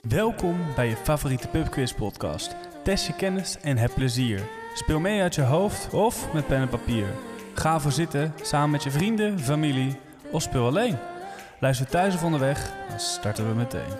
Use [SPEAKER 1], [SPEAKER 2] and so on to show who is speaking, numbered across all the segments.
[SPEAKER 1] Welkom bij je favoriete pubquiz podcast. Test je kennis en heb plezier. Speel mee uit je hoofd of met pen en papier. Ga voor zitten samen met je vrienden, familie of speel alleen. Luister thuis of onderweg, dan starten we meteen.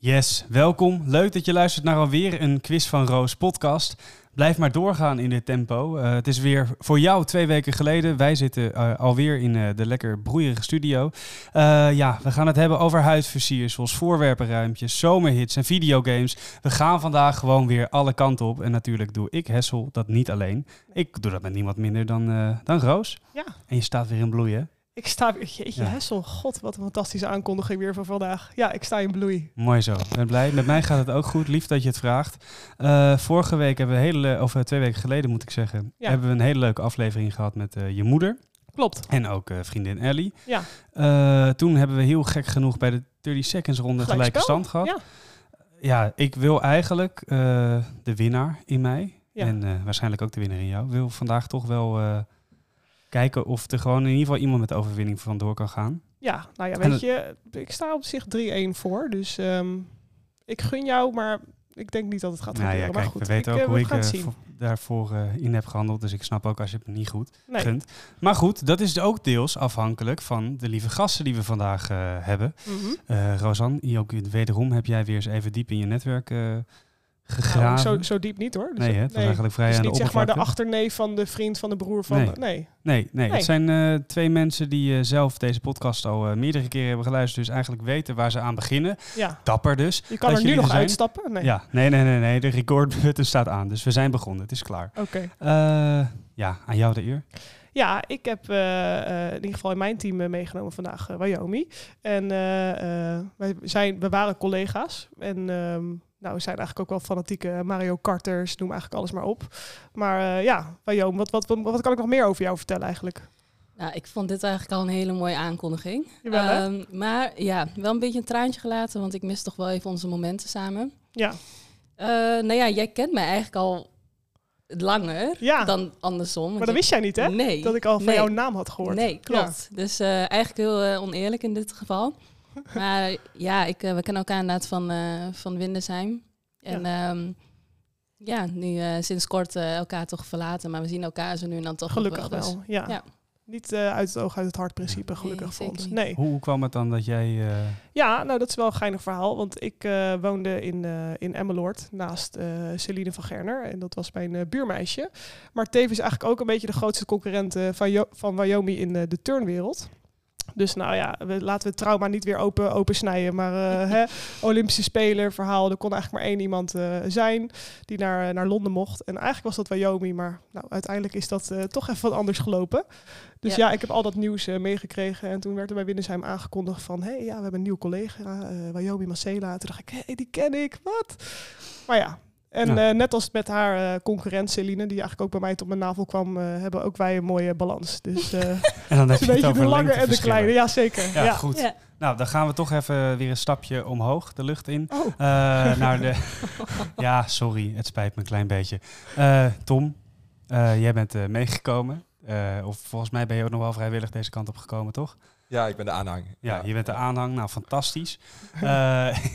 [SPEAKER 1] Yes, welkom. Leuk dat je luistert naar alweer een Quiz van Roos podcast. Blijf maar doorgaan in dit tempo. Eh, het is weer voor jou twee weken geleden. Wij zitten eh, alweer in eh, de lekker broeierige studio. Eh, ja, we gaan het hebben over huidversiersels, voorwerpenruimtjes, zomerhits en videogames. We gaan vandaag gewoon weer alle kanten op. En natuurlijk doe ik, Hessel, dat niet alleen. Ik doe dat met niemand minder dan, eh, dan Roos.
[SPEAKER 2] Ja.
[SPEAKER 1] En je staat weer in bloeien.
[SPEAKER 2] Ik sta weer... Jeetje,
[SPEAKER 1] Ja.
[SPEAKER 2] Hessel. God, wat een fantastische aankondiging weer voor vandaag. Ja, ik sta in bloei.
[SPEAKER 1] Mooi zo. Ik ben blij. Met mij gaat het ook goed. Lief dat je het vraagt. Eh, vorige week hebben we een hele, le- of eh, twee weken geleden moet ik zeggen,
[SPEAKER 2] Ja.
[SPEAKER 1] hebben we een hele leuke aflevering gehad met eh, je moeder
[SPEAKER 2] Klopt.
[SPEAKER 1] en ook eh, vriendin Ellie.
[SPEAKER 2] Ja.
[SPEAKER 1] Eh, toen hebben we heel gek genoeg bij de 30 seconds ronde
[SPEAKER 2] Gelijk
[SPEAKER 1] gelijke
[SPEAKER 2] spel.
[SPEAKER 1] stand gehad.
[SPEAKER 2] Ja.
[SPEAKER 1] Ja, ik wil eigenlijk eh, de winnaar in mij
[SPEAKER 2] Ja.
[SPEAKER 1] en eh, waarschijnlijk ook de winnaar in jou, wil vandaag toch wel eh, kijken of er gewoon in ieder geval iemand met overwinning vandoor kan gaan.
[SPEAKER 2] Ja, nou ja,
[SPEAKER 1] En
[SPEAKER 2] weet
[SPEAKER 1] het-
[SPEAKER 2] je, ik sta op zich 3-1 voor. Dus ehm, ik gun jou, maar ik denk niet dat het gaat
[SPEAKER 1] nou
[SPEAKER 2] gebeuren.
[SPEAKER 1] ja,
[SPEAKER 2] maar
[SPEAKER 1] kijk,
[SPEAKER 2] goed,
[SPEAKER 1] we weten
[SPEAKER 2] ik,
[SPEAKER 1] ook
[SPEAKER 2] eh,
[SPEAKER 1] hoe
[SPEAKER 2] we
[SPEAKER 1] ik
[SPEAKER 2] gaan
[SPEAKER 1] eh,
[SPEAKER 2] het zien.
[SPEAKER 1] vo- daarvoor eh, in heb gehandeld, dus ik snap ook als je het me niet goed
[SPEAKER 2] Nee,
[SPEAKER 1] gunt. Maar goed, dat is ook deels afhankelijk van de lieve gasten die we vandaag eh, hebben.
[SPEAKER 2] mhm.
[SPEAKER 1] Eh Rosanne, hier ook wederom heb jij weer eens even diep in je netwerk eh gegraven.
[SPEAKER 2] Nou, zo, zo diep niet hoor. Dus
[SPEAKER 1] nee, hè? het was
[SPEAKER 2] nee.
[SPEAKER 1] eigenlijk vrij
[SPEAKER 2] Het is
[SPEAKER 1] aan de
[SPEAKER 2] niet zeg maar de
[SPEAKER 1] oppervlakte.
[SPEAKER 2] achterneef van de vriend van de broer van...
[SPEAKER 1] Nee.
[SPEAKER 2] Nee, nee.
[SPEAKER 1] Nee, nee,
[SPEAKER 2] Nee.
[SPEAKER 1] het zijn eh, twee mensen die eh, zelf deze podcast al eh, meerdere keren hebben geluisterd, dus eigenlijk weten waar ze aan beginnen.
[SPEAKER 2] ja.
[SPEAKER 1] Dapper dus.
[SPEAKER 2] Je
[SPEAKER 1] Dat
[SPEAKER 2] kan er
[SPEAKER 1] jullie
[SPEAKER 2] nu
[SPEAKER 1] er
[SPEAKER 2] nog
[SPEAKER 1] zijn?
[SPEAKER 2] uitstappen. Nee,
[SPEAKER 1] Ja, nee, nee, nee, nee, de recordbutton staat aan, dus we zijn begonnen, het is klaar.
[SPEAKER 2] oké.
[SPEAKER 1] Eh, ja, aan jou de eer.
[SPEAKER 2] Ja, ik heb eh, eh, in ieder geval in mijn team eh, meegenomen vandaag eh, Wyoming. En eh, eh, wij, zijn, we waren collega's. En ehm, nou, we zijn eigenlijk ook wel fanatieke Mario Karters, noem eigenlijk alles maar op. Maar eh, ja, Wyoming, wat, wat, wat, wat kan ik nog meer over jou vertellen eigenlijk?
[SPEAKER 3] Nou, ik vond dit eigenlijk al een hele mooie aankondiging.
[SPEAKER 2] Jawel, hè?
[SPEAKER 3] Ehm, maar ja, wel een beetje een traantje gelaten, want ik mis toch wel even onze momenten samen.
[SPEAKER 2] Ja,
[SPEAKER 3] Eh, nou ja, jij kent mij eigenlijk al langer
[SPEAKER 2] ja
[SPEAKER 3] dan andersom.
[SPEAKER 2] Ah. maar dat wist jij niet hè?
[SPEAKER 3] Nee.
[SPEAKER 2] Dat ik al van
[SPEAKER 3] nee.
[SPEAKER 2] jouw naam had gehoord.
[SPEAKER 3] Nee, klopt. Dus eh, eigenlijk heel eh, oneerlijk in dit geval. maar ja, ik, eh, we kennen elkaar inderdaad van, eh van Windesheim. En ja, ja nu eh, sinds kort eh, elkaar toch verlaten, maar we zien elkaar zo nu en dan toch nog
[SPEAKER 2] Gelukkig
[SPEAKER 3] dus-
[SPEAKER 2] wel, ja.
[SPEAKER 3] Ja.
[SPEAKER 2] Niet eh, uit het oog, uit het hart principe, gelukkig
[SPEAKER 3] Nee,
[SPEAKER 2] voor
[SPEAKER 3] zeker
[SPEAKER 2] ons.
[SPEAKER 3] niet.
[SPEAKER 2] Nee.
[SPEAKER 1] Hoe, hoe kwam het dan dat jij... eh,
[SPEAKER 2] Ja, nou dat is wel een geinig verhaal. Want ik eh, woonde in, eh, in Emmeloord naast eh, Celine van Gerner. En dat was mijn eh, buurmeisje. Maar tevens eigenlijk ook een beetje de grootste concurrent eh, van, Jo- van Wyoming in eh, de turnwereld. Dus nou ja, we, laten we het trauma niet weer open, opensnijden. Maar eh, hè, Olympische Spelen, verhaal. Er kon eigenlijk maar één iemand eh, zijn die naar, naar Londen mocht. En eigenlijk was dat Wyoming. Maar nou, uiteindelijk is dat eh, toch even wat anders gelopen. Dus ja,
[SPEAKER 3] Ja.
[SPEAKER 2] ik heb al dat nieuws eh, meegekregen. En toen werd er bij Winnesheim aangekondigd van... hé, hey, ja, we hebben een nieuw collega, eh Wyoming Marcela. Toen dacht ik, hé, die ken ik, wat? Maar ja, en
[SPEAKER 1] Ja.
[SPEAKER 2] eh, net als met haar eh, concurrent Celine... die eigenlijk ook bij mij tot mijn navel kwam... eh, hebben ook wij een mooie balans. Dus eh, het
[SPEAKER 1] en dan heb
[SPEAKER 2] is een
[SPEAKER 1] je het
[SPEAKER 2] beetje de
[SPEAKER 1] over
[SPEAKER 2] lange en de
[SPEAKER 1] lengteverschillen.
[SPEAKER 2] kleine. Ja, zeker.
[SPEAKER 1] Ja,
[SPEAKER 2] Ja.
[SPEAKER 1] goed.
[SPEAKER 3] Ja.
[SPEAKER 1] Nou, dan gaan we toch even weer een stapje omhoog, de lucht in.
[SPEAKER 2] Oh,
[SPEAKER 1] Eh, naar de... ja, sorry, het spijt me een klein beetje. Eh, Tom, eh, jij bent eh, meegekomen. Eh, of volgens mij ben je ook nog wel vrijwillig deze kant op gekomen, toch?
[SPEAKER 4] Ja, ik ben de aanhang.
[SPEAKER 1] Ja, je bent de aanhang. Nou, fantastisch. Eh,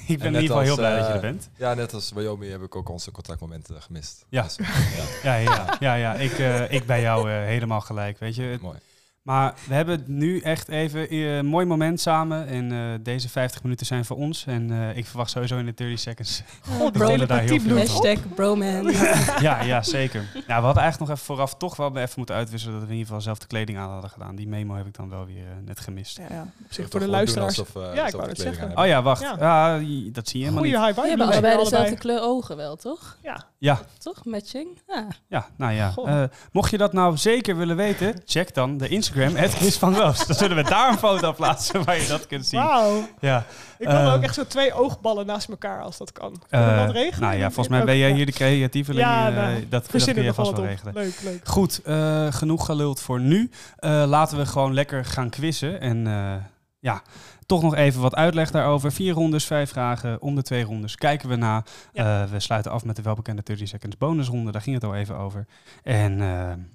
[SPEAKER 1] ik ben in ieder
[SPEAKER 4] net
[SPEAKER 1] geval heel
[SPEAKER 4] als,
[SPEAKER 1] blij dat je
[SPEAKER 4] eh,
[SPEAKER 1] er bent.
[SPEAKER 4] Ja, net als Wyoming heb ik ook onze contactmomenten gemist.
[SPEAKER 1] Ja.
[SPEAKER 4] Dus,
[SPEAKER 1] Ja,
[SPEAKER 4] ja,
[SPEAKER 1] ja, ja, ja, ja. Ik, eh, ik ben jou eh, helemaal gelijk, weet je. Het-
[SPEAKER 4] mooi.
[SPEAKER 1] Maar we hebben nu echt even eh, een mooi moment samen. En eh, deze 50 minuten zijn voor ons. En eh, ik verwacht sowieso in de 30 seconds
[SPEAKER 2] Eh,
[SPEAKER 3] God,
[SPEAKER 1] delen daar heel veel van.
[SPEAKER 3] Hashtag bromance.
[SPEAKER 1] Ja, ja, zeker. Nou, we hadden eigenlijk nog even vooraf toch wel even moeten uitwisselen dat we in ieder geval zelf de kleding aan hadden gedaan. Die memo heb ik dan wel weer eh, net gemist.
[SPEAKER 2] ja, ja. op zich
[SPEAKER 4] Toch
[SPEAKER 2] voor de
[SPEAKER 4] gewoon
[SPEAKER 2] luisteraars.
[SPEAKER 4] doen Alsof, eh,
[SPEAKER 2] ik
[SPEAKER 4] alsof
[SPEAKER 2] wou
[SPEAKER 4] we
[SPEAKER 2] het
[SPEAKER 4] kleding
[SPEAKER 2] zeggen.
[SPEAKER 4] aan
[SPEAKER 1] Oh
[SPEAKER 4] hebben.
[SPEAKER 1] ja, wacht.
[SPEAKER 2] Ja.
[SPEAKER 1] Ja, i- dat zie je helemaal
[SPEAKER 2] Goeie
[SPEAKER 1] niet.
[SPEAKER 2] high vibe.
[SPEAKER 3] We hebben
[SPEAKER 2] jullie
[SPEAKER 3] allebei
[SPEAKER 2] allebei.
[SPEAKER 3] dezelfde kleur ogen wel, toch?
[SPEAKER 2] Ja,
[SPEAKER 1] Ja,
[SPEAKER 3] Toch? Matching? Ja.
[SPEAKER 1] ja, nou ja.
[SPEAKER 2] Goh.
[SPEAKER 1] Eh, mocht je dat nou zeker willen weten, check dan de Instagram, het Chris van Roos. Dan zullen we daar een foto plaatsen waar je dat kunt zien.
[SPEAKER 2] wauw.
[SPEAKER 1] Ja.
[SPEAKER 2] Ik wil
[SPEAKER 1] Eh,
[SPEAKER 2] ook echt zo twee oogballen naast elkaar als dat kan. Kunnen we
[SPEAKER 1] eh,
[SPEAKER 2] dat regelen?
[SPEAKER 1] nou ja, volgens mij ben jij hier de creatieve eh,
[SPEAKER 2] Ja, nou,
[SPEAKER 1] dat, dat kun
[SPEAKER 2] Verzinnen
[SPEAKER 1] je
[SPEAKER 2] nog wel
[SPEAKER 1] vast
[SPEAKER 2] wat
[SPEAKER 1] wel
[SPEAKER 2] op.
[SPEAKER 1] regelen.
[SPEAKER 2] Leuk, leuk.
[SPEAKER 1] Goed, eh, genoeg geluld voor nu. Eh, laten we gewoon lekker gaan quizzen. En eh, ja, toch nog even wat uitleg daarover. Vier rondes, vijf vragen. Om de twee rondes kijken we na. Eh, we sluiten af met de welbekende 30 seconds bonusronde. Daar ging het al even over. En eh, nou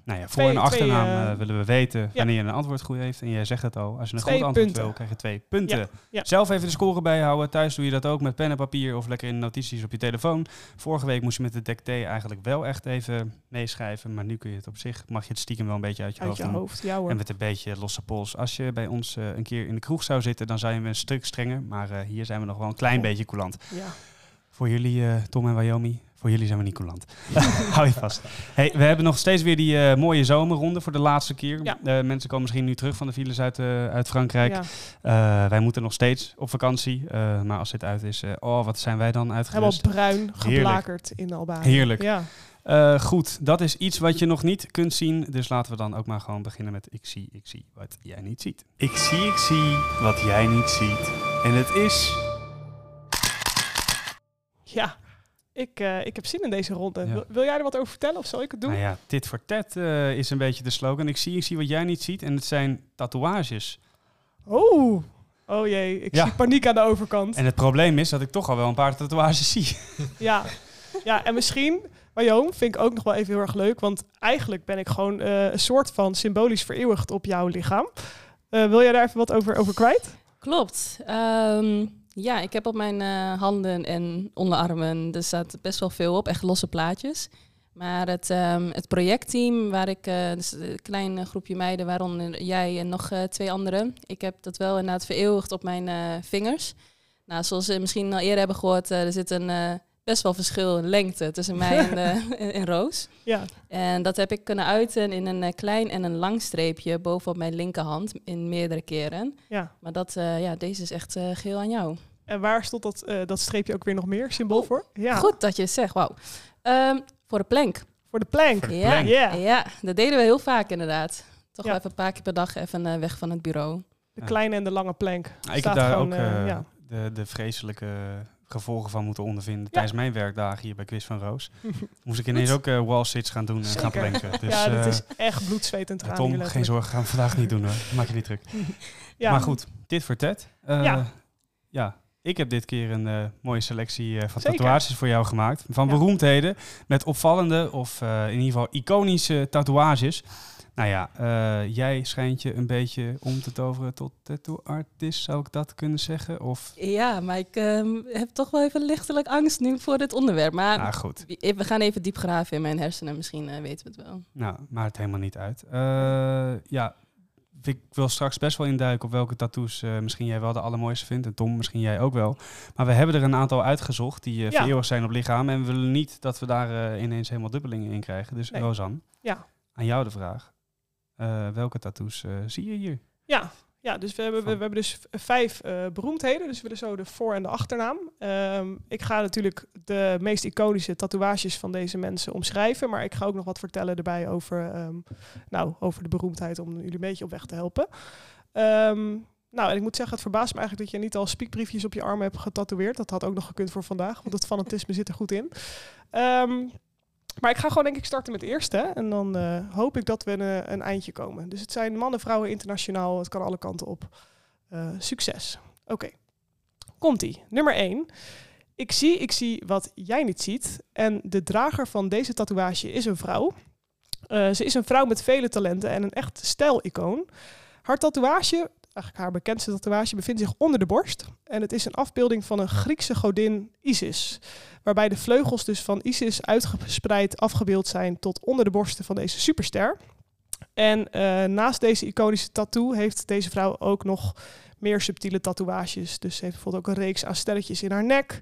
[SPEAKER 1] ja, voor-
[SPEAKER 2] Twee-
[SPEAKER 1] en achternaam
[SPEAKER 2] twee, eh,
[SPEAKER 1] eh, willen we weten wanneer je een antwoord goed heeft. En jij zegt het al. Als je een
[SPEAKER 2] Twee
[SPEAKER 1] goed antwoord
[SPEAKER 2] punten.
[SPEAKER 1] wil, krijg je twee punten.
[SPEAKER 2] ja.
[SPEAKER 1] Zelf even de score bijhouden. Thuis doe je dat ook met pen en papier of lekker in notities op je telefoon. Vorige week moest je met de dictée eigenlijk wel echt even meeschrijven. Maar nu kun je het op zich, mag je het stiekem wel een beetje uit je
[SPEAKER 2] Uit
[SPEAKER 1] hoofd
[SPEAKER 2] je
[SPEAKER 1] doen.
[SPEAKER 2] hoofd, ja hoor.
[SPEAKER 1] En met een beetje losse pols. Als je bij ons eh, een keer in de kroeg zou zitten, dan zijn we een stuk strenger. Maar eh, hier zijn we nog wel een klein
[SPEAKER 2] Oh.
[SPEAKER 1] beetje coulant.
[SPEAKER 2] Ja.
[SPEAKER 1] Voor jullie, eh, Tom en Wyoming. Voor jullie zijn we niet coulant. Hou je vast. Hey, we hebben nog steeds weer die eh, mooie zomerronde voor de laatste keer.
[SPEAKER 2] Ja.
[SPEAKER 1] Eh, mensen komen misschien nu terug van de files uit, eh, uit Frankrijk.
[SPEAKER 2] ja.
[SPEAKER 1] Eh, wij moeten nog steeds op vakantie. Eh, maar als dit uit is, eh, oh, wat zijn wij dan
[SPEAKER 2] Helemaal
[SPEAKER 1] uitgerust.
[SPEAKER 2] bruin geblakerd in Albanië.
[SPEAKER 1] dus Heerlijk.
[SPEAKER 2] Ja.
[SPEAKER 1] Eh, goed, dat is iets wat je nog niet kunt zien. Dus laten we dan ook maar gewoon beginnen met ik zie, ik zie wat jij niet ziet. Ik zie, ik zie wat jij niet ziet. En het is...
[SPEAKER 2] ja. Ik, eh, ik heb zin in deze ronde.
[SPEAKER 1] Ja.
[SPEAKER 2] Wil, wil jij er wat over vertellen of zal ik het doen?
[SPEAKER 1] Nou ja, dit voor Ted eh, is een beetje de slogan. Ik zie, ik zie wat jij niet ziet. En het zijn tatoeages.
[SPEAKER 2] Oh. Oh jee, ik
[SPEAKER 1] Ja.
[SPEAKER 2] zie paniek aan de overkant.
[SPEAKER 1] En het probleem is dat ik toch al wel een paar tatoeages zie.
[SPEAKER 2] Ja. ja, en misschien, Wajoom, vind ik ook nog wel even heel erg leuk. Want eigenlijk ben ik gewoon eh, een soort van symbolisch vereeuwigd op jouw lichaam. Eh, wil jij daar even wat over, over kwijt?
[SPEAKER 3] Klopt. Ehm, ja, ik heb op mijn eh, handen en onderarmen, er staat best wel veel op, echt losse plaatjes. Maar het, ehm, het projectteam waar ik, eh, dus een klein eh, groepje meiden, waaronder jij en nog eh, twee anderen, ik heb dat wel inderdaad vereeuwigd op mijn eh, vingers. Nou, zoals we misschien al eerder hebben gehoord, eh, er zit een eh, best wel verschil in lengte tussen mij en, eh, en Roos.
[SPEAKER 2] Ja.
[SPEAKER 3] En dat heb ik kunnen uiten in een eh, klein en een lang streepje bovenop mijn linkerhand in meerdere keren.
[SPEAKER 2] ja.
[SPEAKER 3] Maar dat, eh, ja, deze is echt eh, geheel aan jou.
[SPEAKER 2] En waar stond dat, eh, dat streepje ook weer nog meer symbool
[SPEAKER 3] Oh,
[SPEAKER 2] voor? Ja,
[SPEAKER 3] Goed dat je het zegt, wauw. Ehm, voor de plank.
[SPEAKER 2] voor de plank.
[SPEAKER 1] Voor de
[SPEAKER 3] Ja.
[SPEAKER 1] plank.
[SPEAKER 2] Ja,
[SPEAKER 3] Ja, dat deden we heel vaak inderdaad. Toch
[SPEAKER 2] Ja.
[SPEAKER 3] wel even een paar keer per dag even eh, weg van het bureau.
[SPEAKER 2] de kleine en de lange plank.
[SPEAKER 1] ik
[SPEAKER 2] Staat
[SPEAKER 1] heb daar
[SPEAKER 2] gewoon,
[SPEAKER 1] ook
[SPEAKER 2] eh,
[SPEAKER 1] eh,
[SPEAKER 2] ja.
[SPEAKER 1] de, de vreselijke gevolgen van moeten ondervinden tijdens mijn werkdagen hier bij Quiz van Roos. Moest ik ineens ook eh, wall sits gaan doen en gaan
[SPEAKER 2] Zeker.
[SPEAKER 1] planken. Dus,
[SPEAKER 2] ja, dat
[SPEAKER 1] eh,
[SPEAKER 2] is echt bloed, zweet en
[SPEAKER 1] eh,
[SPEAKER 2] tranen.
[SPEAKER 1] Tom,
[SPEAKER 2] hier
[SPEAKER 1] geen
[SPEAKER 2] letterlijk.
[SPEAKER 1] zorgen, gaan we vandaag niet doen hoor. Maak je niet druk.
[SPEAKER 2] Ja.
[SPEAKER 1] Maar goed, dit voor Ted. Eh,
[SPEAKER 2] Ja.
[SPEAKER 1] ja. ik heb dit keer een eh, mooie selectie eh, van
[SPEAKER 2] Zeker.
[SPEAKER 1] tatoeages voor jou gemaakt. Van
[SPEAKER 2] Ja.
[SPEAKER 1] beroemdheden met opvallende of eh, in ieder geval iconische tatoeages. Nou ja, eh, jij schijnt je een beetje om te toveren tot tattoo artist, zou ik dat kunnen zeggen? Of,
[SPEAKER 3] Ja, maar ik ehm, heb toch wel even lichtelijk angst nu voor dit onderwerp. Maar
[SPEAKER 1] nou goed,
[SPEAKER 3] we gaan even diep graven in mijn hersenen. Misschien eh, weten we het wel.
[SPEAKER 1] nou, maakt helemaal niet uit. Eh, ja, ik wil straks best wel induiken op welke tattoos eh, misschien jij wel de allermooiste vindt. En Tom, misschien jij ook wel. Maar we hebben er een aantal uitgezocht die eh
[SPEAKER 2] Ja.
[SPEAKER 1] vereeuwigd zijn op lichaam. En we willen niet dat we daar eh, ineens helemaal dubbelingen in krijgen. Dus
[SPEAKER 2] Nee.
[SPEAKER 1] Rosan,
[SPEAKER 2] Ja.
[SPEAKER 1] aan jou de vraag. Eh, welke tattoos eh, zie je hier?
[SPEAKER 2] Ja, ja dus we hebben, we, we hebben dus v- vijf eh, beroemdheden. Dus we willen zo de voor- en de achternaam. Ehm, ik ga natuurlijk de meest iconische tatoeages van deze mensen omschrijven. Maar ik ga ook nog wat vertellen erbij over, ehm, nou, over de beroemdheid om jullie een beetje op weg te helpen. Ehm, nou, en ik moet zeggen, het verbaast me eigenlijk dat je niet al spiekbriefjes op je arm hebt getatoeëerd. Dat had ook nog gekund voor vandaag, want het fanatisme zit er goed in. Ehm, maar ik ga gewoon denk ik starten met de eerste. hè. En dan eh, hoop ik dat we een, een eindje komen. Dus het zijn mannen, vrouwen, internationaal. Het kan alle kanten op. Eh, succes. Oké. Komt-ie. Nummer 1. Ik zie, ik zie wat jij niet ziet. En de drager van deze tatoeage is een vrouw. Eh, ze is een vrouw met vele talenten en een echt stijlicoon. Haar tatoeage, eigenlijk haar bekendste tatoeage, bevindt zich onder de borst. En het is een afbeelding van een Griekse godin Isis waarbij de vleugels dus van Isis uitgespreid afgebeeld zijn tot onder de borsten van deze superster. En eh, naast deze iconische tattoo heeft deze vrouw ook nog meer subtiele tatoeages. Dus ze heeft bijvoorbeeld ook een reeks aan sterretjes in haar nek.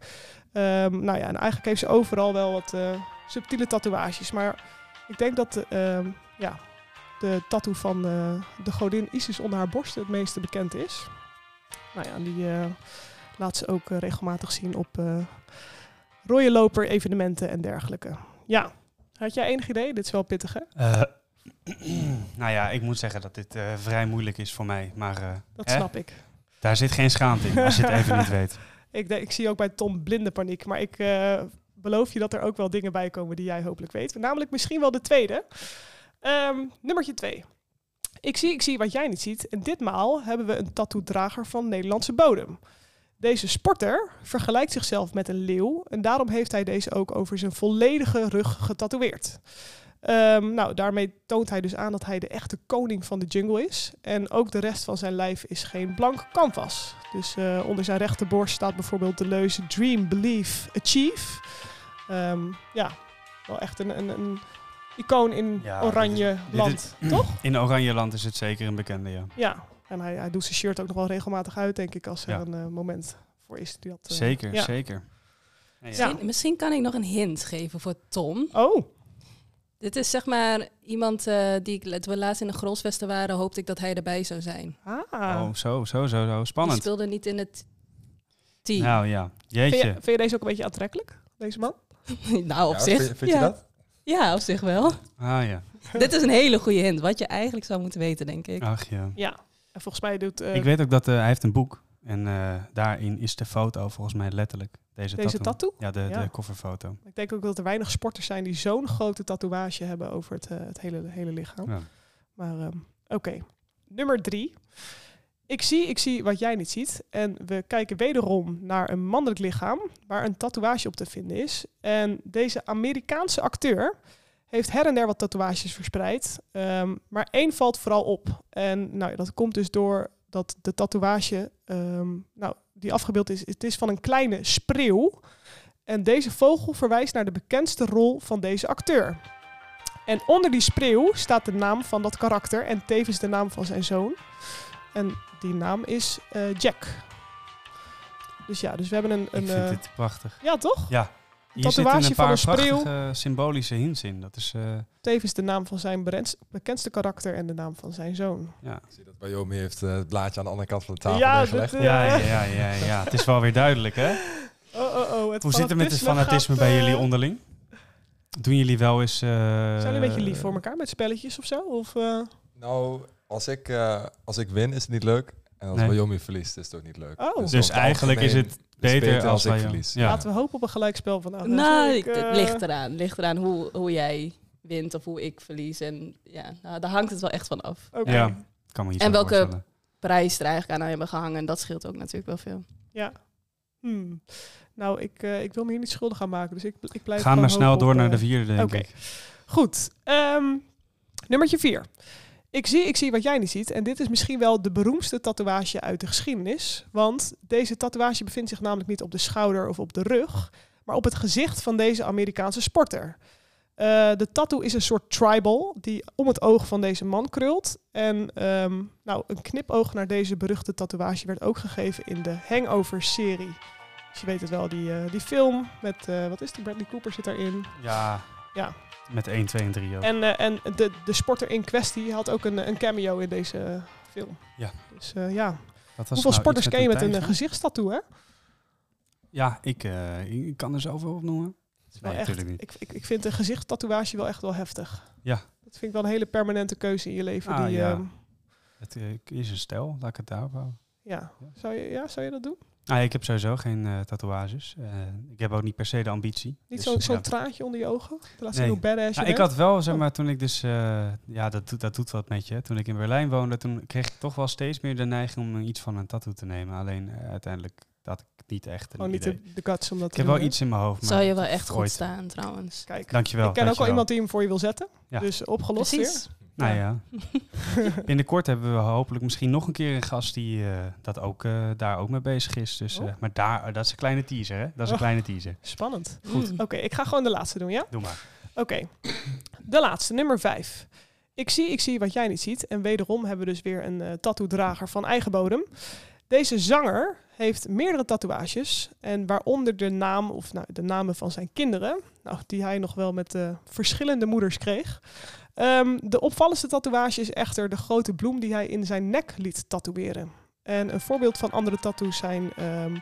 [SPEAKER 2] Ehm, nou ja, en eigenlijk heeft ze overal wel wat eh, subtiele tatoeages. Maar ik denk dat eh, ehm, ja, de tattoo van eh, de godin Isis onder haar borsten het meeste bekend is. Nou ja, en die eh, laat ze ook eh, regelmatig zien op eh, rode loper evenementen en dergelijke. Ja, had jij enig idee? Dit is wel pittig, hè?
[SPEAKER 1] Eh, nou ja, ik moet zeggen dat dit eh, vrij moeilijk is voor mij. Maar eh,
[SPEAKER 2] Dat
[SPEAKER 1] hè?
[SPEAKER 2] snap ik.
[SPEAKER 1] daar zit geen schaamte in als je het even niet weet.
[SPEAKER 2] Ik, denk- ik zie ook bij Tom blinde paniek, maar ik eh, beloof je dat er ook wel dingen bij komen die jij hopelijk weet. Namelijk misschien wel de tweede. Ehm nummertje twee. Ik zie, ik zie wat jij niet ziet. En ditmaal hebben we een tattoo-drager van Nederlandse bodem. Deze sporter vergelijkt zichzelf met een leeuw. En daarom heeft hij deze ook over zijn volledige rug getatoeëerd. Ehm, nou, daarmee toont hij dus aan dat hij de echte koning van de jungle is. En ook de rest van zijn lijf is geen blank canvas. Dus eh, onder zijn rechterborst staat bijvoorbeeld de leuze Dream, Believe, Achieve. Ehm, ja, wel echt een, een, een icoon in
[SPEAKER 1] Ja,
[SPEAKER 2] oranje
[SPEAKER 1] dit is-
[SPEAKER 2] land, toch?
[SPEAKER 1] In Oranjeland is het zeker een bekende, ja.
[SPEAKER 2] Ja, en hij, hij doet zijn shirt ook nog wel regelmatig uit, denk ik, als er
[SPEAKER 1] Ja.
[SPEAKER 2] een eh, moment voor is. Die dat, eh,
[SPEAKER 1] Zeker,
[SPEAKER 2] ja.
[SPEAKER 1] zeker. Ja, ja.
[SPEAKER 3] Misschien, misschien kan ik nog een hint geven voor Tom.
[SPEAKER 2] Oh,
[SPEAKER 3] Dit is zeg maar iemand eh, die ik, toen we laatst in de Grolsvesten waren, hoopte ik dat hij erbij zou zijn. Die
[SPEAKER 2] ah.
[SPEAKER 1] Oh, zo, zo, zo, zo. Spannend.
[SPEAKER 3] speelde niet in het team.
[SPEAKER 1] Nou
[SPEAKER 3] Nou,
[SPEAKER 1] ja,
[SPEAKER 2] vind, je,
[SPEAKER 1] jeetje.
[SPEAKER 2] vind je deze ook een beetje aantrekkelijk, deze man?
[SPEAKER 3] Nou, op
[SPEAKER 4] Ja,
[SPEAKER 3] zich.
[SPEAKER 4] Vind, vind
[SPEAKER 3] ja.
[SPEAKER 4] je dat?
[SPEAKER 3] Ja, op zich wel.
[SPEAKER 1] Ah ja,
[SPEAKER 3] Dit is een hele goede hint, wat je eigenlijk zou moeten weten, denk ik.
[SPEAKER 1] ach ja.
[SPEAKER 2] Ja. En volgens mij doet eh,
[SPEAKER 1] Ik weet ook dat eh, hij heeft een boek. En eh, daarin is de foto volgens mij letterlijk deze,
[SPEAKER 2] deze
[SPEAKER 1] tattoo.
[SPEAKER 2] tattoo.
[SPEAKER 1] Ja, de,
[SPEAKER 2] Ja.
[SPEAKER 1] de coverfoto.
[SPEAKER 2] Ik denk ook dat er weinig sporters zijn die zo'n grote tatoeage hebben over het, eh, het hele, hele lichaam.
[SPEAKER 1] Ja.
[SPEAKER 2] Maar ehm, oké. Nummer drie. Ik zie, ik zie wat jij niet ziet. En we kijken wederom naar een mannelijk lichaam waar een tatoeage op te vinden is. En deze Amerikaanse acteur heeft her en der wat tatoeages verspreid. Ehm, maar één valt vooral op. En nou, ja, dat komt dus door dat de tatoeage ehm, nou, die afgebeeld is, het is van een kleine spreeuw. En deze vogel verwijst naar de bekendste rol van deze acteur. En onder die spreeuw staat de naam van dat karakter en tevens de naam van zijn zoon. En die naam is eh, Jack. Dus ja, dus we hebben een... een
[SPEAKER 1] Ik vind
[SPEAKER 2] eh,
[SPEAKER 1] dit prachtig.
[SPEAKER 2] Ja, toch?
[SPEAKER 1] Ja. Hier
[SPEAKER 2] tatoeage
[SPEAKER 1] zitten een
[SPEAKER 2] van
[SPEAKER 1] paar
[SPEAKER 2] een spreeuw.
[SPEAKER 1] prachtige symbolische hints in. Dat is, eh,
[SPEAKER 2] Tevens de naam van zijn berens- bekendste karakter en de naam van zijn zoon.
[SPEAKER 1] ja.
[SPEAKER 4] Ik zie dat Wyoming heeft eh, het blaadje aan de andere kant van de tafel
[SPEAKER 2] Ja,
[SPEAKER 4] neergelegd.
[SPEAKER 2] dit, eh,
[SPEAKER 1] Ja, ja, ja, ja, ja. Het is wel weer duidelijk, hè?
[SPEAKER 2] Oh, oh, oh. Het
[SPEAKER 1] Hoe zit het met het
[SPEAKER 2] fanatisme
[SPEAKER 1] fanatisme
[SPEAKER 2] gaat,
[SPEAKER 1] bij
[SPEAKER 2] eh,
[SPEAKER 1] jullie onderling? Doen jullie wel eens... eh,
[SPEAKER 2] Zijn jullie een beetje lief voor elkaar met spelletjes of zo? Of, eh,
[SPEAKER 4] Nou, als ik, eh, als ik win is het niet leuk. En als
[SPEAKER 1] Nee.
[SPEAKER 4] Wyoming verliest is het ook niet leuk.
[SPEAKER 2] Oh. Dus
[SPEAKER 4] over het
[SPEAKER 1] eigenlijk is
[SPEAKER 4] algemeen
[SPEAKER 1] het Beter,
[SPEAKER 4] beter als ik
[SPEAKER 1] wij-
[SPEAKER 4] verlies.
[SPEAKER 1] Ja.
[SPEAKER 2] Laten we hopen op een gelijkspel vandaag.
[SPEAKER 3] nou,
[SPEAKER 2] Dus
[SPEAKER 3] ik-
[SPEAKER 2] eh,
[SPEAKER 3] het ligt eraan. Het ligt eraan hoe, hoe jij wint of hoe ik verlies. En ja, nou, daar hangt het wel echt van af.
[SPEAKER 2] oké.
[SPEAKER 1] Ja. Kan me niet
[SPEAKER 3] En
[SPEAKER 1] zo
[SPEAKER 3] welke-
[SPEAKER 1] voorstellen.
[SPEAKER 3] Prijs er eigenlijk aan hebben gehangen, en dat scheelt ook natuurlijk wel veel.
[SPEAKER 2] Ja. Hmm. Nou, ik, eh, ik wil me hier niet schuldig aan maken, dus ik, ik blijf
[SPEAKER 1] Ga maar
[SPEAKER 2] gewoon
[SPEAKER 1] snel
[SPEAKER 2] hopen
[SPEAKER 1] door
[SPEAKER 2] op,
[SPEAKER 1] naar
[SPEAKER 2] eh,
[SPEAKER 1] de vierde, denk
[SPEAKER 2] oké.
[SPEAKER 1] ik.
[SPEAKER 2] Goed. Ehm, nummertje 4. Ik zie, ik zie wat jij niet ziet. En dit is misschien wel de beroemdste tatoeage uit de geschiedenis. Want deze tatoeage bevindt zich namelijk niet op de schouder of op de rug, maar op het gezicht van deze Amerikaanse sporter. Eh, de tattoo is een soort tribal die om het oog van deze man krult. En ehm, nou, een knipoog naar deze beruchte tatoeage werd ook gegeven in de Hangover-serie. Dus je weet het wel, die, eh, die film met, eh, wat is die, Bradley Cooper zit daarin.
[SPEAKER 1] Ja.
[SPEAKER 2] Ja.
[SPEAKER 1] Met 1, 2 en 3 ook.
[SPEAKER 2] En, eh, en de, de sporter in kwestie had ook een, een cameo in deze eh, film.
[SPEAKER 1] Ja.
[SPEAKER 2] Dus eh, ja.
[SPEAKER 1] Dat was
[SPEAKER 2] Hoeveel
[SPEAKER 1] nou
[SPEAKER 2] sporters
[SPEAKER 1] iets
[SPEAKER 2] ken je met een eh,
[SPEAKER 1] tijger?
[SPEAKER 2] gezichtstattoo, hè?
[SPEAKER 1] Ja, ik, eh, ik- ik kan er zoveel op noemen.
[SPEAKER 2] Het is wel
[SPEAKER 1] Nee,
[SPEAKER 2] echt,
[SPEAKER 1] tuurlijk niet.
[SPEAKER 2] ik, ik, ik vind een gezichtstatoeage wel echt wel heftig.
[SPEAKER 1] Ja.
[SPEAKER 2] Dat vind ik wel een hele permanente keuze in je leven.
[SPEAKER 1] Ah,
[SPEAKER 2] die,
[SPEAKER 1] ja.
[SPEAKER 2] ehm,
[SPEAKER 1] Het eh, is een stijl, laat ik het daarop houden.
[SPEAKER 2] ja.
[SPEAKER 1] Ja.
[SPEAKER 2] Zou je, ja, zou je dat doen?
[SPEAKER 1] Ah, ik heb sowieso geen eh, tatoeages. Eh, ik heb ook niet per se de ambitie.
[SPEAKER 2] Niet
[SPEAKER 1] Dus,
[SPEAKER 2] zo'n zo'n
[SPEAKER 1] ja.
[SPEAKER 2] traantje onder je ogen? Te laten zien
[SPEAKER 1] Nee.
[SPEAKER 2] hoe badass je
[SPEAKER 1] Nou, ik
[SPEAKER 2] bent? Oh.
[SPEAKER 1] had wel, zeg maar, toen ik dus... eh, ja, dat, doet- dat doet wat met je. Toen ik in Berlijn woonde, toen kreeg ik toch wel steeds meer de neiging om iets van een tattoo te nemen. Alleen eh, uiteindelijk had ik het niet echt een
[SPEAKER 2] Gewoon niet
[SPEAKER 1] idee.
[SPEAKER 2] de, de guts om dat
[SPEAKER 1] Ik
[SPEAKER 2] te
[SPEAKER 1] heb
[SPEAKER 2] doen,
[SPEAKER 1] wel
[SPEAKER 2] hè?
[SPEAKER 1] iets in mijn hoofd. maar
[SPEAKER 3] Zou je
[SPEAKER 1] Nou, dat
[SPEAKER 3] wel
[SPEAKER 1] is
[SPEAKER 3] echt goed
[SPEAKER 1] ooit.
[SPEAKER 3] staan trouwens.
[SPEAKER 2] Kijk,
[SPEAKER 1] Dankjewel.
[SPEAKER 2] ik ken ook wel
[SPEAKER 1] dankjewel.
[SPEAKER 2] iemand die hem voor je wil zetten.
[SPEAKER 1] Ja.
[SPEAKER 2] Dus opgelost weer.
[SPEAKER 3] Precies.
[SPEAKER 1] Nou ja. Binnenkort hebben we hopelijk misschien nog een keer een gast die eh, dat ook, eh, daar ook mee bezig is. Dus, eh,
[SPEAKER 2] Oh.
[SPEAKER 1] maar daar, dat is een kleine teaser, hè? Dat is een
[SPEAKER 2] Oh.
[SPEAKER 1] kleine teaser.
[SPEAKER 2] Spannend.
[SPEAKER 1] Goed.
[SPEAKER 3] Mm.
[SPEAKER 2] Oké, ik ga gewoon de laatste doen, ja?
[SPEAKER 1] Doe maar.
[SPEAKER 2] Oké, de laatste, nummer vijf. Ik zie, ik zie wat jij niet ziet. En wederom hebben we dus weer een eh tattoo-drager van eigen bodem. Deze zanger heeft meerdere tatoeages. En waaronder de naam, of nou, de namen van zijn kinderen. Nou, die hij nog wel met eh, verschillende moeders kreeg. Ehm, de opvallendste tatoeage is echter de grote bloem die hij in zijn nek liet tatoeëren. En een voorbeeld van andere tattoos zijn ehm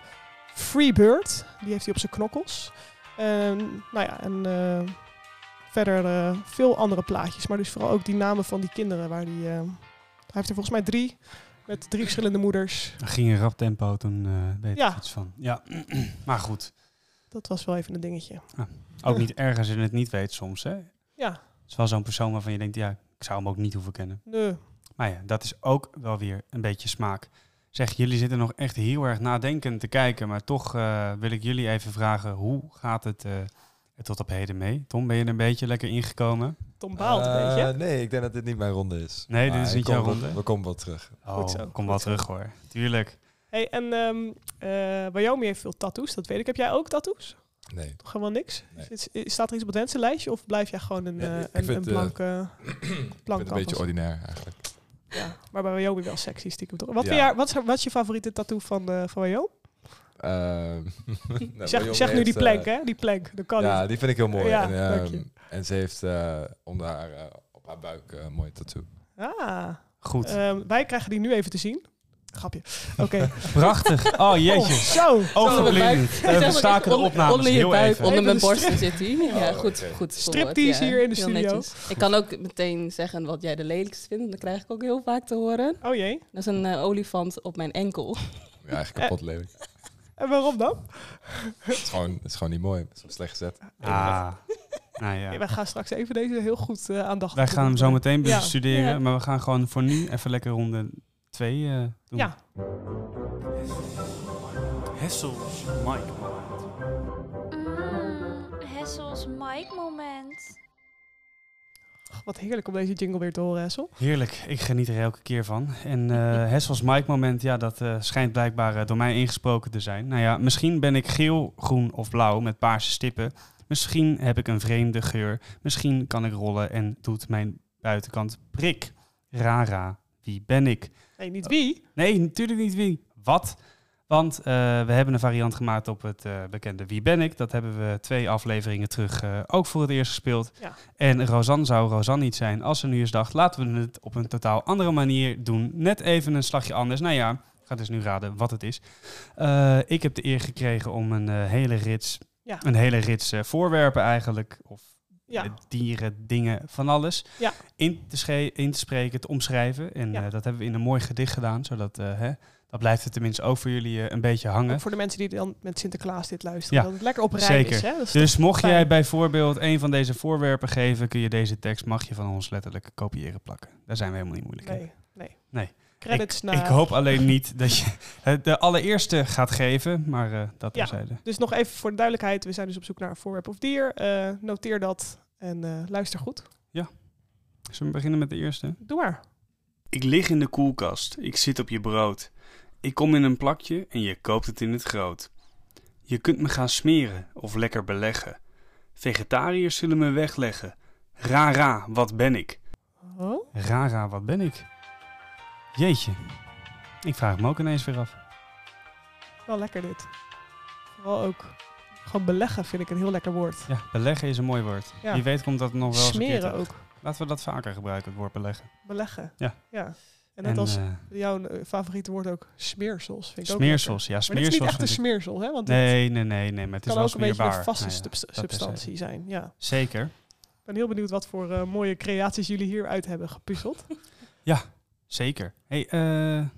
[SPEAKER 2] Freebird. Die heeft hij op zijn knokkels. Ehm, nou ja, en... eh, verder eh, veel andere plaatjes. Maar dus vooral ook die namen van die kinderen. Waar die, eh, hij heeft er volgens mij drie. Met drie verschillende moeders.
[SPEAKER 1] Er ging een rap tempo, toen eh weet ik
[SPEAKER 2] Ja.
[SPEAKER 1] iets van. Ja, maar goed.
[SPEAKER 2] Dat was wel even een dingetje.
[SPEAKER 1] Ook niet erg als je het niet weet soms, hè? Het
[SPEAKER 2] Ja,
[SPEAKER 1] is wel zo'n persoon waarvan je denkt, ja, ik zou hem ook niet hoeven kennen.
[SPEAKER 2] nee.
[SPEAKER 1] Maar ja, dat is ook wel weer een beetje smaak. Zeg, jullie zitten nog echt heel erg nadenkend te kijken, maar toch eh, wil ik jullie even vragen, hoe gaat het eh, er tot op heden mee? Tom, ben je er een beetje lekker ingekomen?
[SPEAKER 2] Tom baalt een
[SPEAKER 4] Eh,
[SPEAKER 2] beetje.
[SPEAKER 4] nee, ik denk dat dit niet mijn ronde is.
[SPEAKER 1] Nee, dit
[SPEAKER 4] Maar
[SPEAKER 1] is
[SPEAKER 4] ik
[SPEAKER 1] niet
[SPEAKER 4] kom
[SPEAKER 1] jouw
[SPEAKER 4] wel-
[SPEAKER 1] ronde.
[SPEAKER 4] We komen wel terug.
[SPEAKER 1] Oh,
[SPEAKER 2] Goed zo,
[SPEAKER 1] kom wel
[SPEAKER 2] goed zo.
[SPEAKER 1] terug hoor. Tuurlijk.
[SPEAKER 2] Hey, en ehm eh, Wyoming heeft veel tattoos, dat weet ik. Heb jij ook tattoos?
[SPEAKER 4] Nee.
[SPEAKER 2] Toch helemaal niks?
[SPEAKER 4] Nee.
[SPEAKER 2] Is- is- Staat er iets op het wensenlijstje of blijf jij gewoon een,
[SPEAKER 4] Nee,
[SPEAKER 2] eh,
[SPEAKER 4] ik
[SPEAKER 2] een,
[SPEAKER 4] vind,
[SPEAKER 2] een
[SPEAKER 4] eh,
[SPEAKER 2] blanke...
[SPEAKER 4] Ik ben een beetje
[SPEAKER 2] canvas.
[SPEAKER 4] ordinair eigenlijk.
[SPEAKER 2] ja, maar bij Wyoming wel sexy stiekem toch? Wat,
[SPEAKER 4] Ja.
[SPEAKER 2] vind jij, wat, is, wat is je favoriete tattoo van, eh van Wyoming?
[SPEAKER 4] Ehm, nou,
[SPEAKER 2] zeg
[SPEAKER 4] Wyoming
[SPEAKER 2] zeg nu die
[SPEAKER 4] heeft, eh,
[SPEAKER 2] plank, hè? Die plank, dat kan
[SPEAKER 4] Ja,
[SPEAKER 2] niet.
[SPEAKER 4] die vind ik heel mooi.
[SPEAKER 2] Ja,
[SPEAKER 4] en,
[SPEAKER 2] dank
[SPEAKER 4] ehm,
[SPEAKER 2] je.
[SPEAKER 4] en ze heeft eh, onder haar, eh, op haar buik eh, een mooie tattoo.
[SPEAKER 2] Ah,
[SPEAKER 1] Goed.
[SPEAKER 2] ehm, wij krijgen die nu even te zien. Grapje. Oké.
[SPEAKER 1] Prachtig. Oh
[SPEAKER 2] Oh,
[SPEAKER 1] jeetje.
[SPEAKER 2] zo.
[SPEAKER 1] Overblind.
[SPEAKER 2] Eh,
[SPEAKER 1] We staken de opnames
[SPEAKER 3] Onder je
[SPEAKER 1] heel
[SPEAKER 3] buik,
[SPEAKER 1] even.
[SPEAKER 2] Even
[SPEAKER 3] onder mijn
[SPEAKER 2] een
[SPEAKER 3] borsten zit hij. Ja, goed,
[SPEAKER 4] oké.
[SPEAKER 3] goed.
[SPEAKER 2] Striptease
[SPEAKER 3] ja.
[SPEAKER 2] hier in de
[SPEAKER 3] Heel
[SPEAKER 2] studio.
[SPEAKER 3] netjes. Ik kan ook meteen zeggen wat jij de lelijkste vindt. want Dat krijg ik ook heel vaak te horen.
[SPEAKER 2] Oh jee.
[SPEAKER 3] Dat is een eh, olifant op mijn enkel.
[SPEAKER 4] Ja,
[SPEAKER 2] Eh.
[SPEAKER 4] eigenlijk kapot lelijk.
[SPEAKER 2] En waarom dan?
[SPEAKER 4] Het is gewoon, het is gewoon niet mooi. Het is gewoon slecht gezet.
[SPEAKER 1] Ah, nou
[SPEAKER 2] Nee,
[SPEAKER 1] ja.
[SPEAKER 2] wij gaan straks even deze heel goed eh aandachtig
[SPEAKER 1] Wij gaan hem zo
[SPEAKER 2] doen.
[SPEAKER 1] meteen
[SPEAKER 2] Ja.
[SPEAKER 1] bestuderen,
[SPEAKER 3] Ja.
[SPEAKER 1] maar we gaan gewoon voor nu even lekker ronde 2 doen.
[SPEAKER 2] Ja.
[SPEAKER 5] Hessel's Mike Moment.
[SPEAKER 6] Mm, Hessel's Mike moment.
[SPEAKER 2] Wat heerlijk om deze jingle weer te horen, Hessel.
[SPEAKER 1] Heerlijk, ik geniet er elke keer van. En eh Hessels Mike moment, ja, dat eh, schijnt blijkbaar eh, door mij ingesproken te zijn. Nou ja, misschien ben ik geel, groen of blauw met paarse stippen. Misschien heb ik een vreemde geur. Misschien kan ik rollen en doet mijn buitenkant prik. Rara, wie ben ik?
[SPEAKER 2] Nee,
[SPEAKER 1] Oh.
[SPEAKER 2] niet wie.
[SPEAKER 1] Nee, natuurlijk niet wie. Wat? Want eh, we hebben een variant gemaakt op het eh, bekende Wie ben ik? Dat hebben we twee afleveringen terug eh, ook voor het eerst gespeeld.
[SPEAKER 2] Ja.
[SPEAKER 1] En Rosanne zou Rosanne niet zijn als ze nu eens dacht... laten we het op een totaal andere manier doen. Net even een slagje anders. Nou ja, ik ga dus nu raden wat het is. Eh, ik heb de eer gekregen om een eh, hele rits...
[SPEAKER 2] Ja.
[SPEAKER 1] een hele rits eh, voorwerpen eigenlijk... of eh,
[SPEAKER 2] Ja,
[SPEAKER 1] dieren, dingen, van alles.
[SPEAKER 2] Ja.
[SPEAKER 1] In, te sche- in te spreken, te omschrijven. En
[SPEAKER 2] Ja.
[SPEAKER 1] eh, dat hebben we in een mooi gedicht gedaan. Zodat, eh, hè, dat blijft het tenminste ook voor jullie eh, een beetje hangen.
[SPEAKER 2] ook voor de mensen die dan met Sinterklaas dit luisteren.
[SPEAKER 1] Ja,
[SPEAKER 2] Dat het lekker op rij
[SPEAKER 1] zeker.
[SPEAKER 2] is. Hè? Dat is
[SPEAKER 1] Dus mocht
[SPEAKER 2] fijn.
[SPEAKER 1] jij bijvoorbeeld een van deze voorwerpen geven, kun je deze tekst mag je van ons letterlijk kopiëren plakken. Daar zijn we helemaal niet moeilijk in.
[SPEAKER 2] Nee, Nou, eh, nee.
[SPEAKER 1] Nee.
[SPEAKER 2] Credits naar...
[SPEAKER 1] Ik hoop alleen niet dat je het de allereerste gaat geven, maar eh, dat
[SPEAKER 2] Ja.
[SPEAKER 1] terzijde.
[SPEAKER 2] Dus nog even voor de duidelijkheid. We zijn dus op zoek naar een voorwerp of dier. Eh, noteer dat en eh, luister goed.
[SPEAKER 1] Zullen we beginnen met de eerste?
[SPEAKER 2] Doe maar.
[SPEAKER 1] Ik lig in de koelkast, ik zit op je brood. Ik kom in een plakje en je koopt het in het groot. Je kunt me gaan smeren of lekker beleggen. Vegetariërs zullen me wegleggen. Rara, wat ben ik?
[SPEAKER 2] Oh?
[SPEAKER 1] Rara, wat ben ik? Jeetje, ik vraag me ook ineens weer af.
[SPEAKER 2] Wel lekker dit. Vooral ook... Gewoon beleggen vind ik een heel lekker woord.
[SPEAKER 1] Ja, beleggen is een mooi woord.
[SPEAKER 2] Ja.
[SPEAKER 1] Wie weet komt dat nog wel eens een keer
[SPEAKER 2] Smeren
[SPEAKER 1] terug.
[SPEAKER 2] ook.
[SPEAKER 1] Laten we dat vaker gebruiken, het woord beleggen.
[SPEAKER 2] Beleggen.
[SPEAKER 1] Ja.
[SPEAKER 2] ja. En net als
[SPEAKER 1] eh,
[SPEAKER 2] jouw eh, favoriete woord ook smeersels. Vind ik ook lekker.
[SPEAKER 1] smeersels, ja,
[SPEAKER 2] Maar dit is
[SPEAKER 1] smeersels.
[SPEAKER 2] niet echt een
[SPEAKER 1] vind ik-
[SPEAKER 2] smeersel, hè? Want dit
[SPEAKER 1] nee, nee, nee, nee, maar het is
[SPEAKER 2] kan
[SPEAKER 1] wel
[SPEAKER 2] ook een beetje
[SPEAKER 1] smeerbaar.
[SPEAKER 2] een vaste
[SPEAKER 1] Nou ja,
[SPEAKER 2] subs-
[SPEAKER 1] dat terzijde.
[SPEAKER 2] substantie zijn. Ja.
[SPEAKER 1] Zeker.
[SPEAKER 2] Ik ben heel benieuwd wat voor eh, mooie creaties jullie hieruit hebben gepuzzeld.
[SPEAKER 1] Zeker. Hey, eh,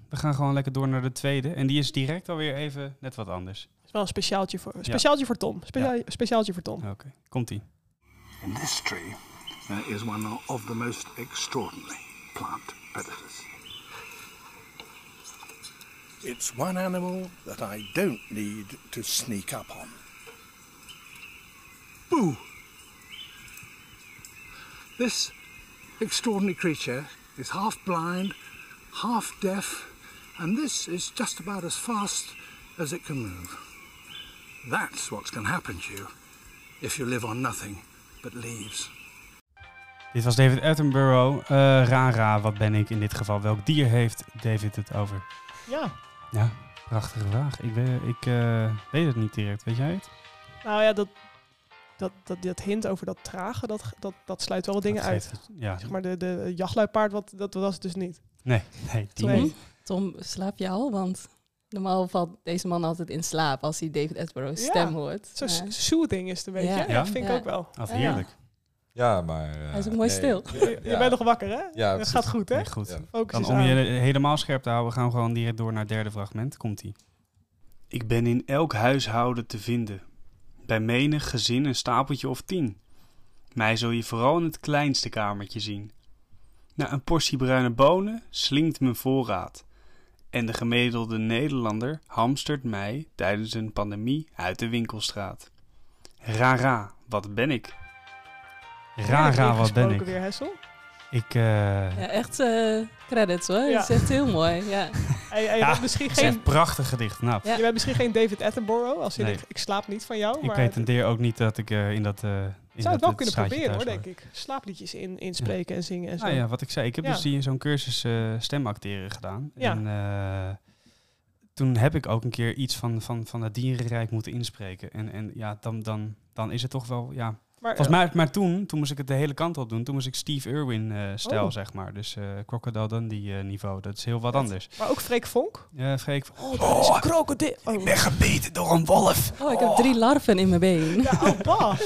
[SPEAKER 1] we gaan gewoon lekker door naar de tweede. En die is direct alweer even net wat anders.
[SPEAKER 2] Het is wel een speciaaltje voor, speciaaltje voor Tom. Speciaal, Speciaaltje voor Tom.
[SPEAKER 1] Oké, komt ie.
[SPEAKER 7] In this tree, there is one of the most extraordinary plant predators. It's one animal that I don't need to sneak up on. Boo! This extraordinary creature is half blind, half deaf, and this is just about as fast as it can move. That's what's going to happen to you if you live on nothing but leaves.
[SPEAKER 1] Dit was David Attenborough. Eh, Rara, wat ben ik in dit geval? Welk dier heeft David het over?
[SPEAKER 2] Ja.
[SPEAKER 1] Ja, prachtige vraag. Ik, weet, ik eh, weet het niet direct. Weet jij het?
[SPEAKER 2] Nou ja, dat, dat, dat, dat hint over dat trage, dat, dat, dat sluit wel wat dingen
[SPEAKER 1] Dat
[SPEAKER 2] uit.
[SPEAKER 1] geeft het- Ja,
[SPEAKER 2] Zeg maar de, de jachtluipaard, wat, dat was het dus niet.
[SPEAKER 1] nee, nee, die
[SPEAKER 2] Nee.
[SPEAKER 1] niet.
[SPEAKER 3] Tom, slaap je al? Want normaal valt deze man altijd in slaap als hij David Attenborough's
[SPEAKER 2] Ja,
[SPEAKER 3] stem hoort.
[SPEAKER 2] Zo
[SPEAKER 3] Maar
[SPEAKER 2] s- soothing is het een beetje.
[SPEAKER 3] Ja.
[SPEAKER 2] Ja,
[SPEAKER 1] Ja?
[SPEAKER 2] vind ik
[SPEAKER 3] Ja.
[SPEAKER 2] ook wel.
[SPEAKER 1] Wat
[SPEAKER 3] Ja.
[SPEAKER 1] heerlijk.
[SPEAKER 4] Ja, maar... eh,
[SPEAKER 3] Hij is ook mooi
[SPEAKER 4] nee.
[SPEAKER 3] stil.
[SPEAKER 2] Je, je
[SPEAKER 4] Ja.
[SPEAKER 2] bent nog wakker, hè?
[SPEAKER 4] Ja,
[SPEAKER 2] dat
[SPEAKER 4] precies.
[SPEAKER 2] gaat goed, hè?
[SPEAKER 1] Nee, goed.
[SPEAKER 4] Ja.
[SPEAKER 2] Focus
[SPEAKER 1] Dan
[SPEAKER 2] is
[SPEAKER 1] om
[SPEAKER 2] aan.
[SPEAKER 1] je helemaal scherp te houden, gaan we gewoon direct door naar het derde fragment. Komt ie. Ik ben in elk huishouden te vinden. Bij menig gezin een stapeltje of tien. Mij zul je vooral in het kleinste kamertje zien. Na een portie bruine bonen slinkt mijn voorraad. En de gemiddelde Nederlander hamstert mij tijdens een pandemie uit de winkelstraat. Rara, wat ben ik? Rara, wat ben
[SPEAKER 2] Ingesproken
[SPEAKER 1] ik?
[SPEAKER 2] weer, Hessel.
[SPEAKER 1] Ik, eh
[SPEAKER 3] Ja, echt eh, credits hoor.
[SPEAKER 2] Ja.
[SPEAKER 3] Dat is echt heel mooi. Ja.
[SPEAKER 2] Hey, hey, je,
[SPEAKER 1] Ja,
[SPEAKER 2] bent misschien
[SPEAKER 1] het is echt
[SPEAKER 2] geen,
[SPEAKER 1] prachtig gedicht. Nou,
[SPEAKER 3] Ja.
[SPEAKER 2] je bent misschien geen David Attenborough, als je
[SPEAKER 1] Nee.
[SPEAKER 2] denkt, ik slaap niet van jou.
[SPEAKER 1] ik
[SPEAKER 2] maar
[SPEAKER 1] pretendeer ook niet dat ik eh, in dat eh in
[SPEAKER 2] ik
[SPEAKER 1] dat
[SPEAKER 2] zou het wel
[SPEAKER 1] het
[SPEAKER 2] kunnen
[SPEAKER 1] straatje
[SPEAKER 2] proberen hoor,
[SPEAKER 1] thuis
[SPEAKER 2] denk ik. Slaapliedjes in, inspreken en zingen en zo.
[SPEAKER 1] Nou ja, wat ik zei, ik heb
[SPEAKER 2] Ja.
[SPEAKER 1] dus hier zo'n cursus eh, stemacteren gedaan.
[SPEAKER 2] Ja.
[SPEAKER 1] En eh, toen heb ik ook een keer iets van, van, van het dierenrijk moeten inspreken. En, en ja, dan, dan, dan is het toch wel, ja.
[SPEAKER 2] maar, eh,
[SPEAKER 1] Volgens mij, maar toen, toen moest ik het de hele kant op doen. Toen moest ik Steve Irwin eh stijl,
[SPEAKER 2] Oh.
[SPEAKER 1] zeg maar. Dus eh Crocodile Dundee eh, niveau, dat is heel wat anders.
[SPEAKER 2] maar ook Freek Vonk.
[SPEAKER 1] Ja, Freek, oh,
[SPEAKER 2] Oh, is een krokodil. Oh.
[SPEAKER 1] gebeten door een wolf.
[SPEAKER 3] Oh, ik heb drie larven in mijn been.
[SPEAKER 2] Ja, oh, bah.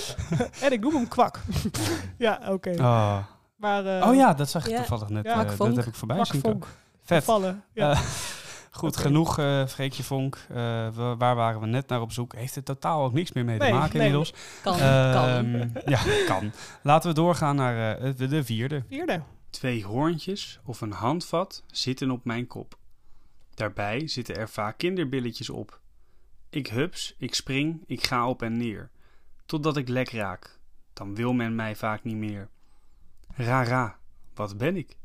[SPEAKER 2] en ik noem hem kwak. ja, oké.
[SPEAKER 1] Oh,
[SPEAKER 2] Maar eh,
[SPEAKER 1] Oh ja, dat zag ik
[SPEAKER 3] Ja.
[SPEAKER 1] toevallig net.
[SPEAKER 2] Ja.
[SPEAKER 1] eh,
[SPEAKER 3] Kwak
[SPEAKER 1] dat
[SPEAKER 3] Vonk.
[SPEAKER 1] heb ik voorbij
[SPEAKER 2] Kwak
[SPEAKER 1] zien komen.
[SPEAKER 2] Vonk.
[SPEAKER 1] Vet.
[SPEAKER 2] vallen. Ja.
[SPEAKER 1] Eh, goed,
[SPEAKER 2] Oké.
[SPEAKER 1] genoeg eh Freekje Vonk. Eh, wa- waar waren we net naar op zoek? Heeft er totaal ook niks meer mee
[SPEAKER 2] Nee,
[SPEAKER 1] te maken
[SPEAKER 2] nee.
[SPEAKER 1] inmiddels.
[SPEAKER 3] Kan, kan.
[SPEAKER 1] Ehm, ja, kan. Laten we doorgaan naar eh, de, de vierde.
[SPEAKER 2] Vierde.
[SPEAKER 1] Twee hoorntjes of een handvat zitten op mijn kop. Daarbij zitten er vaak kinderbilletjes op. Ik hups, ik spring, ik ga op en neer. Totdat ik lek raak. Dan wil men mij vaak niet meer. Rara, wat ben ik?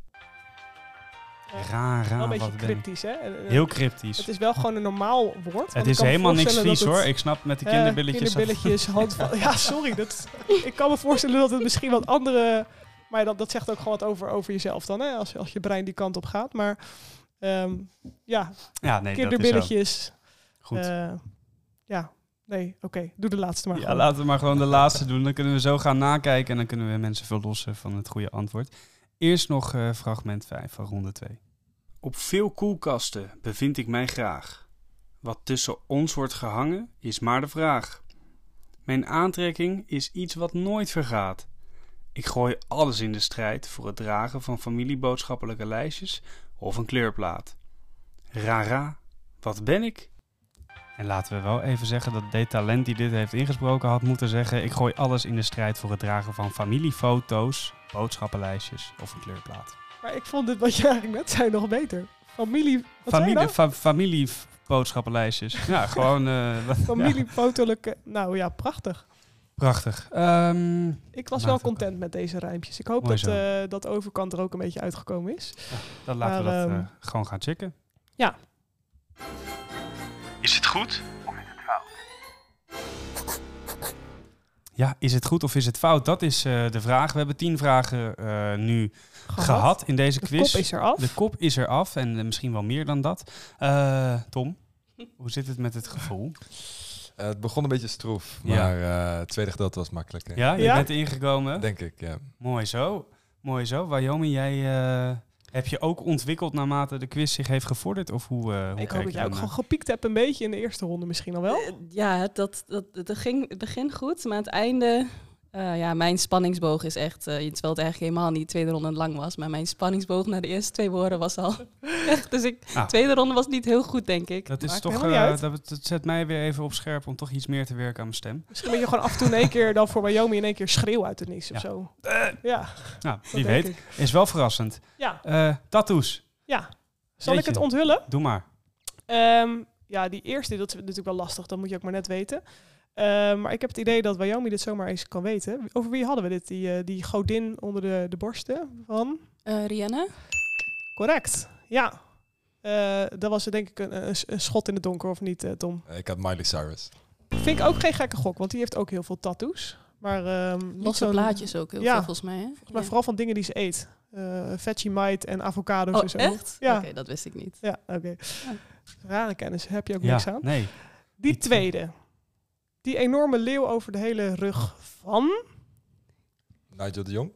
[SPEAKER 2] Wel
[SPEAKER 1] Rara,
[SPEAKER 2] een beetje
[SPEAKER 1] wat ben ik?
[SPEAKER 2] cryptisch, hè? Eh, eh,
[SPEAKER 1] Heel cryptisch.
[SPEAKER 2] Het is wel gewoon een normaal woord. want
[SPEAKER 1] Het
[SPEAKER 2] ik
[SPEAKER 1] is
[SPEAKER 2] kan me
[SPEAKER 1] helemaal niks
[SPEAKER 2] voorstellen
[SPEAKER 1] vies
[SPEAKER 2] dat het-
[SPEAKER 1] hoor. Ik snap met de
[SPEAKER 2] Eh,
[SPEAKER 1] kinderbilletjes. dat-
[SPEAKER 2] kinderbilletjes, handvat. Ja, sorry. Dat, ik kan me voorstellen dat het misschien wat andere... Maar dat, dat zegt ook gewoon wat over, over jezelf dan, hè? Als, als je brein die kant op gaat. Maar ehm, ja,
[SPEAKER 1] ja, nee, dat is zo.
[SPEAKER 2] kinderbilletjes.
[SPEAKER 1] Goed.
[SPEAKER 2] eh, ja, nee, oké. Doe de laatste maar
[SPEAKER 1] ja,
[SPEAKER 2] gewoon.
[SPEAKER 1] laten we maar gewoon de laatste doen. Dan kunnen we zo gaan nakijken en dan kunnen we mensen verlossen van het goede antwoord. Eerst nog eh, fragment 5 van ronde 2. Op veel koelkasten bevind ik mij graag. Wat tussen ons wordt gehangen is maar de vraag. Mijn aantrekking is iets wat nooit vergaat. Ik gooi alles in de strijd voor het dragen van familieboodschappelijke lijstjes of een kleurplaat. Rara, wat ben ik? En laten we wel even zeggen dat de talent die dit heeft ingesproken had moeten zeggen: ik gooi alles in de strijd voor het dragen van familiefoto's, boodschappenlijstjes of een kleurplaat.
[SPEAKER 2] Maar ik vond dit wat je eigenlijk net zei nog beter. Familie... Wat zei je
[SPEAKER 1] Familie,
[SPEAKER 2] nou?
[SPEAKER 1] fa- familieboodschappenlijstjes. ja, gewoon eh, wat- ja,
[SPEAKER 2] Familiefotelijke... Nou ja, prachtig.
[SPEAKER 1] prachtig. Ehm,
[SPEAKER 2] Ik was
[SPEAKER 1] Maakt
[SPEAKER 2] wel
[SPEAKER 1] ook
[SPEAKER 2] content met deze rijmpjes. Ik hoop
[SPEAKER 1] Mooi
[SPEAKER 2] dat,
[SPEAKER 1] zo.
[SPEAKER 2] eh, dat de overkant er ook een beetje uitgekomen is.
[SPEAKER 1] dan laten
[SPEAKER 2] Maar,
[SPEAKER 1] we dat
[SPEAKER 2] ehm,
[SPEAKER 1] eh, gewoon gaan checken.
[SPEAKER 2] ja.
[SPEAKER 1] Is het goed of is het fout? Ja, is het goed of is het fout? Dat is eh, de vraag. We hebben tien vragen eh, nu gehad, in deze
[SPEAKER 2] De
[SPEAKER 1] quiz.
[SPEAKER 2] kop is eraf.
[SPEAKER 1] De kop is eraf en eh, misschien wel meer dan dat. Eh, Tom, hoe zit het met het gevoel?
[SPEAKER 4] Eh, het begon een beetje stroef,
[SPEAKER 1] Ja.
[SPEAKER 4] maar eh, het tweede gedeelte was makkelijker.
[SPEAKER 1] Ja, je
[SPEAKER 2] Ja?
[SPEAKER 1] bent ingekomen.
[SPEAKER 4] Denk ik, ja.
[SPEAKER 1] Mooi zo. Mooi zo. Wyoming, jij eh, heb je ook ontwikkeld naarmate de quiz zich heeft gevorderd? Of hoe, eh, hoe
[SPEAKER 2] ik
[SPEAKER 1] kijk je
[SPEAKER 2] hoop dat jij ook
[SPEAKER 1] daarnaar?
[SPEAKER 2] gewoon gepiekt hebt een beetje in de eerste ronde misschien al wel.
[SPEAKER 3] Eh, Ja, dat, dat, dat ging het begin goed, maar aan het einde... eh, ja, mijn spanningsboog is echt... eh, terwijl het eigenlijk helemaal niet tweede ronde lang was. Maar mijn spanningsboog naar de eerste twee woorden was al... echt, dus ik,
[SPEAKER 1] Nou.
[SPEAKER 3] tweede ronde was niet heel goed, denk ik.
[SPEAKER 1] Dat, is
[SPEAKER 2] Maakt
[SPEAKER 1] toch,
[SPEAKER 2] helemaal niet
[SPEAKER 1] eh,
[SPEAKER 2] uit.
[SPEAKER 1] dat, dat zet mij weer even op scherp om toch iets meer te werken aan mijn stem.
[SPEAKER 2] Misschien moet je gewoon af en toe in één keer dan voor Wyoming in één keer schreeuw uit het niets of
[SPEAKER 1] Ja.
[SPEAKER 2] zo.
[SPEAKER 3] Eh.
[SPEAKER 2] Ja,
[SPEAKER 1] Nou,
[SPEAKER 2] dat
[SPEAKER 1] wie
[SPEAKER 2] denk
[SPEAKER 1] weet.
[SPEAKER 2] ik.
[SPEAKER 1] Is wel verrassend.
[SPEAKER 2] Ja,
[SPEAKER 1] Eh tattoos,
[SPEAKER 2] ja. Zal
[SPEAKER 1] Jeetje.
[SPEAKER 2] ik het onthullen?
[SPEAKER 1] doe maar.
[SPEAKER 2] Ehm, ja, die eerste, dat is natuurlijk wel lastig. Dat moet je ook maar net weten. Ehm, maar ik heb het idee dat Wyoming dit zomaar eens kan weten. Over wie hadden we dit? Die, eh, die godin onder de, de borsten van...
[SPEAKER 3] Eh, Rihanna?
[SPEAKER 2] Correct, ja. Eh, dat was denk ik een, een, een schot in het donker, of niet, eh, Tom?
[SPEAKER 4] Eh, Ik had Miley Cyrus.
[SPEAKER 2] Vind ik ook geen gekke gok, want die heeft ook heel veel tattoos. Maar, ehm, niet
[SPEAKER 3] Losse
[SPEAKER 2] zo'n-
[SPEAKER 3] plaatjes ook heel
[SPEAKER 2] Ja.
[SPEAKER 3] veel, volgens mij. Hè?
[SPEAKER 2] Maar
[SPEAKER 3] Ja.
[SPEAKER 2] vooral van dingen die ze eet. Eh veggie mite en avocados en zo.
[SPEAKER 3] Oh, echt?
[SPEAKER 2] Ja.
[SPEAKER 3] Oké, dat wist ik niet.
[SPEAKER 2] Ja, oké. Rare kennis, heb je ook niks
[SPEAKER 1] Ja,
[SPEAKER 2] aan.
[SPEAKER 1] nee.
[SPEAKER 2] Die
[SPEAKER 1] die twee.
[SPEAKER 2] tweede. Die enorme leeuw over de hele rug van...
[SPEAKER 4] Nigel de Jong.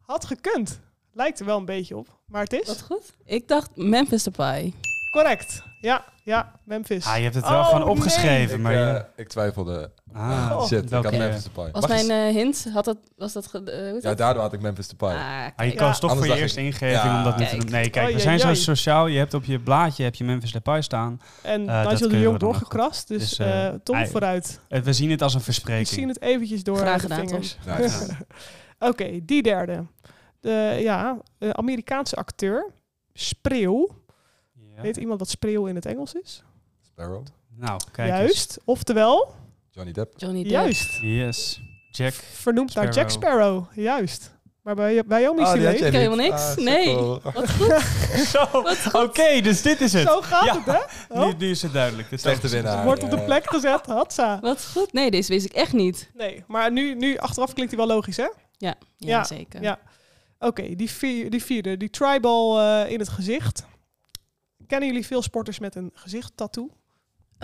[SPEAKER 2] Had gekund. Lijkt er wel een beetje op, maar het is...
[SPEAKER 3] Wat goed. Ik dacht Memphis Depay.
[SPEAKER 2] Correct. Ja, ja, Memphis.
[SPEAKER 1] Ah, je hebt het wel
[SPEAKER 2] Oh,
[SPEAKER 1] gewoon
[SPEAKER 2] nee.
[SPEAKER 1] opgeschreven,
[SPEAKER 4] Ik,
[SPEAKER 1] maar... je-
[SPEAKER 4] eh, ik twijfelde.
[SPEAKER 1] Ah,
[SPEAKER 2] Oh.
[SPEAKER 4] Shit, ik
[SPEAKER 1] welke-
[SPEAKER 4] had Memphis Depay.
[SPEAKER 3] Was
[SPEAKER 1] Wacht
[SPEAKER 3] mijn eh, hint, had dat, was dat... ge- eh, hoe heet
[SPEAKER 4] Ja,
[SPEAKER 3] dat?
[SPEAKER 4] daardoor had ik Memphis Depay.
[SPEAKER 3] Ah,
[SPEAKER 1] Ah, je
[SPEAKER 3] kijk.
[SPEAKER 1] koos
[SPEAKER 2] Ja.
[SPEAKER 1] toch voor
[SPEAKER 4] Anders
[SPEAKER 1] je
[SPEAKER 4] dacht
[SPEAKER 1] eerste
[SPEAKER 4] ik-
[SPEAKER 1] ingeving
[SPEAKER 4] Ja.
[SPEAKER 1] om dat niet te
[SPEAKER 3] Kijk.
[SPEAKER 1] doen. Nee, kijk,
[SPEAKER 2] Oei,
[SPEAKER 1] we zijn zo
[SPEAKER 2] oei.
[SPEAKER 1] sociaal. Je hebt op je blaadje heb je Memphis Depay staan.
[SPEAKER 2] En
[SPEAKER 1] Eh, dat
[SPEAKER 2] Nigel
[SPEAKER 1] kunnen
[SPEAKER 2] de
[SPEAKER 1] we
[SPEAKER 2] Jong
[SPEAKER 1] dan nog
[SPEAKER 2] doorgekrast, dus,
[SPEAKER 1] Dus, eh,
[SPEAKER 2] eh, Tom
[SPEAKER 1] ei.
[SPEAKER 2] vooruit.
[SPEAKER 1] Eh, We zien het als een
[SPEAKER 2] Ik zie
[SPEAKER 1] verspreking.
[SPEAKER 2] het eventjes door
[SPEAKER 3] Graag
[SPEAKER 2] aan de
[SPEAKER 3] gedaan,
[SPEAKER 2] vingers.
[SPEAKER 4] Nice.
[SPEAKER 2] Oké, die derde. De, ja, eh, Amerikaanse acteur. Spreeuw.
[SPEAKER 1] Ja.
[SPEAKER 2] Weet iemand wat spreeuw in het Engels is?
[SPEAKER 4] Sparrow,
[SPEAKER 1] Nou, kijk eens.
[SPEAKER 2] Juist. Oftewel,
[SPEAKER 4] Johnny Depp.
[SPEAKER 3] Johnny Depp.
[SPEAKER 2] juist.
[SPEAKER 1] Yes. Jack.
[SPEAKER 2] Vernoemd naar Jack Sparrow. Juist. Maar bij Wyoming is
[SPEAKER 4] Ah,
[SPEAKER 2] hij
[SPEAKER 4] die had
[SPEAKER 2] mee.
[SPEAKER 4] jij
[SPEAKER 3] Ik ken
[SPEAKER 4] niet.
[SPEAKER 3] helemaal niks.
[SPEAKER 4] Ah,
[SPEAKER 3] Nee.
[SPEAKER 4] sukkel.
[SPEAKER 3] Wat goed.
[SPEAKER 1] Zo,
[SPEAKER 3] Wat
[SPEAKER 1] oké,
[SPEAKER 3] goed.
[SPEAKER 1] dus dit is het.
[SPEAKER 2] Zo gaat
[SPEAKER 1] Ja.
[SPEAKER 2] het, hè? Oh,
[SPEAKER 1] Nu, nu is het duidelijk. Dit
[SPEAKER 4] Slechte winnaar.
[SPEAKER 2] wordt op de plek gezet. Hatsa.
[SPEAKER 3] Wat goed. Nee, deze wist ik echt niet.
[SPEAKER 2] Nee, maar nu, nu achteraf klinkt hij wel logisch, hè?
[SPEAKER 3] Ja,
[SPEAKER 2] Ja,
[SPEAKER 3] zeker.
[SPEAKER 2] ja. Oké, die, vier- die vierde, die tribal eh, in het gezicht. Kennen jullie veel sporters met een gezichttattoo?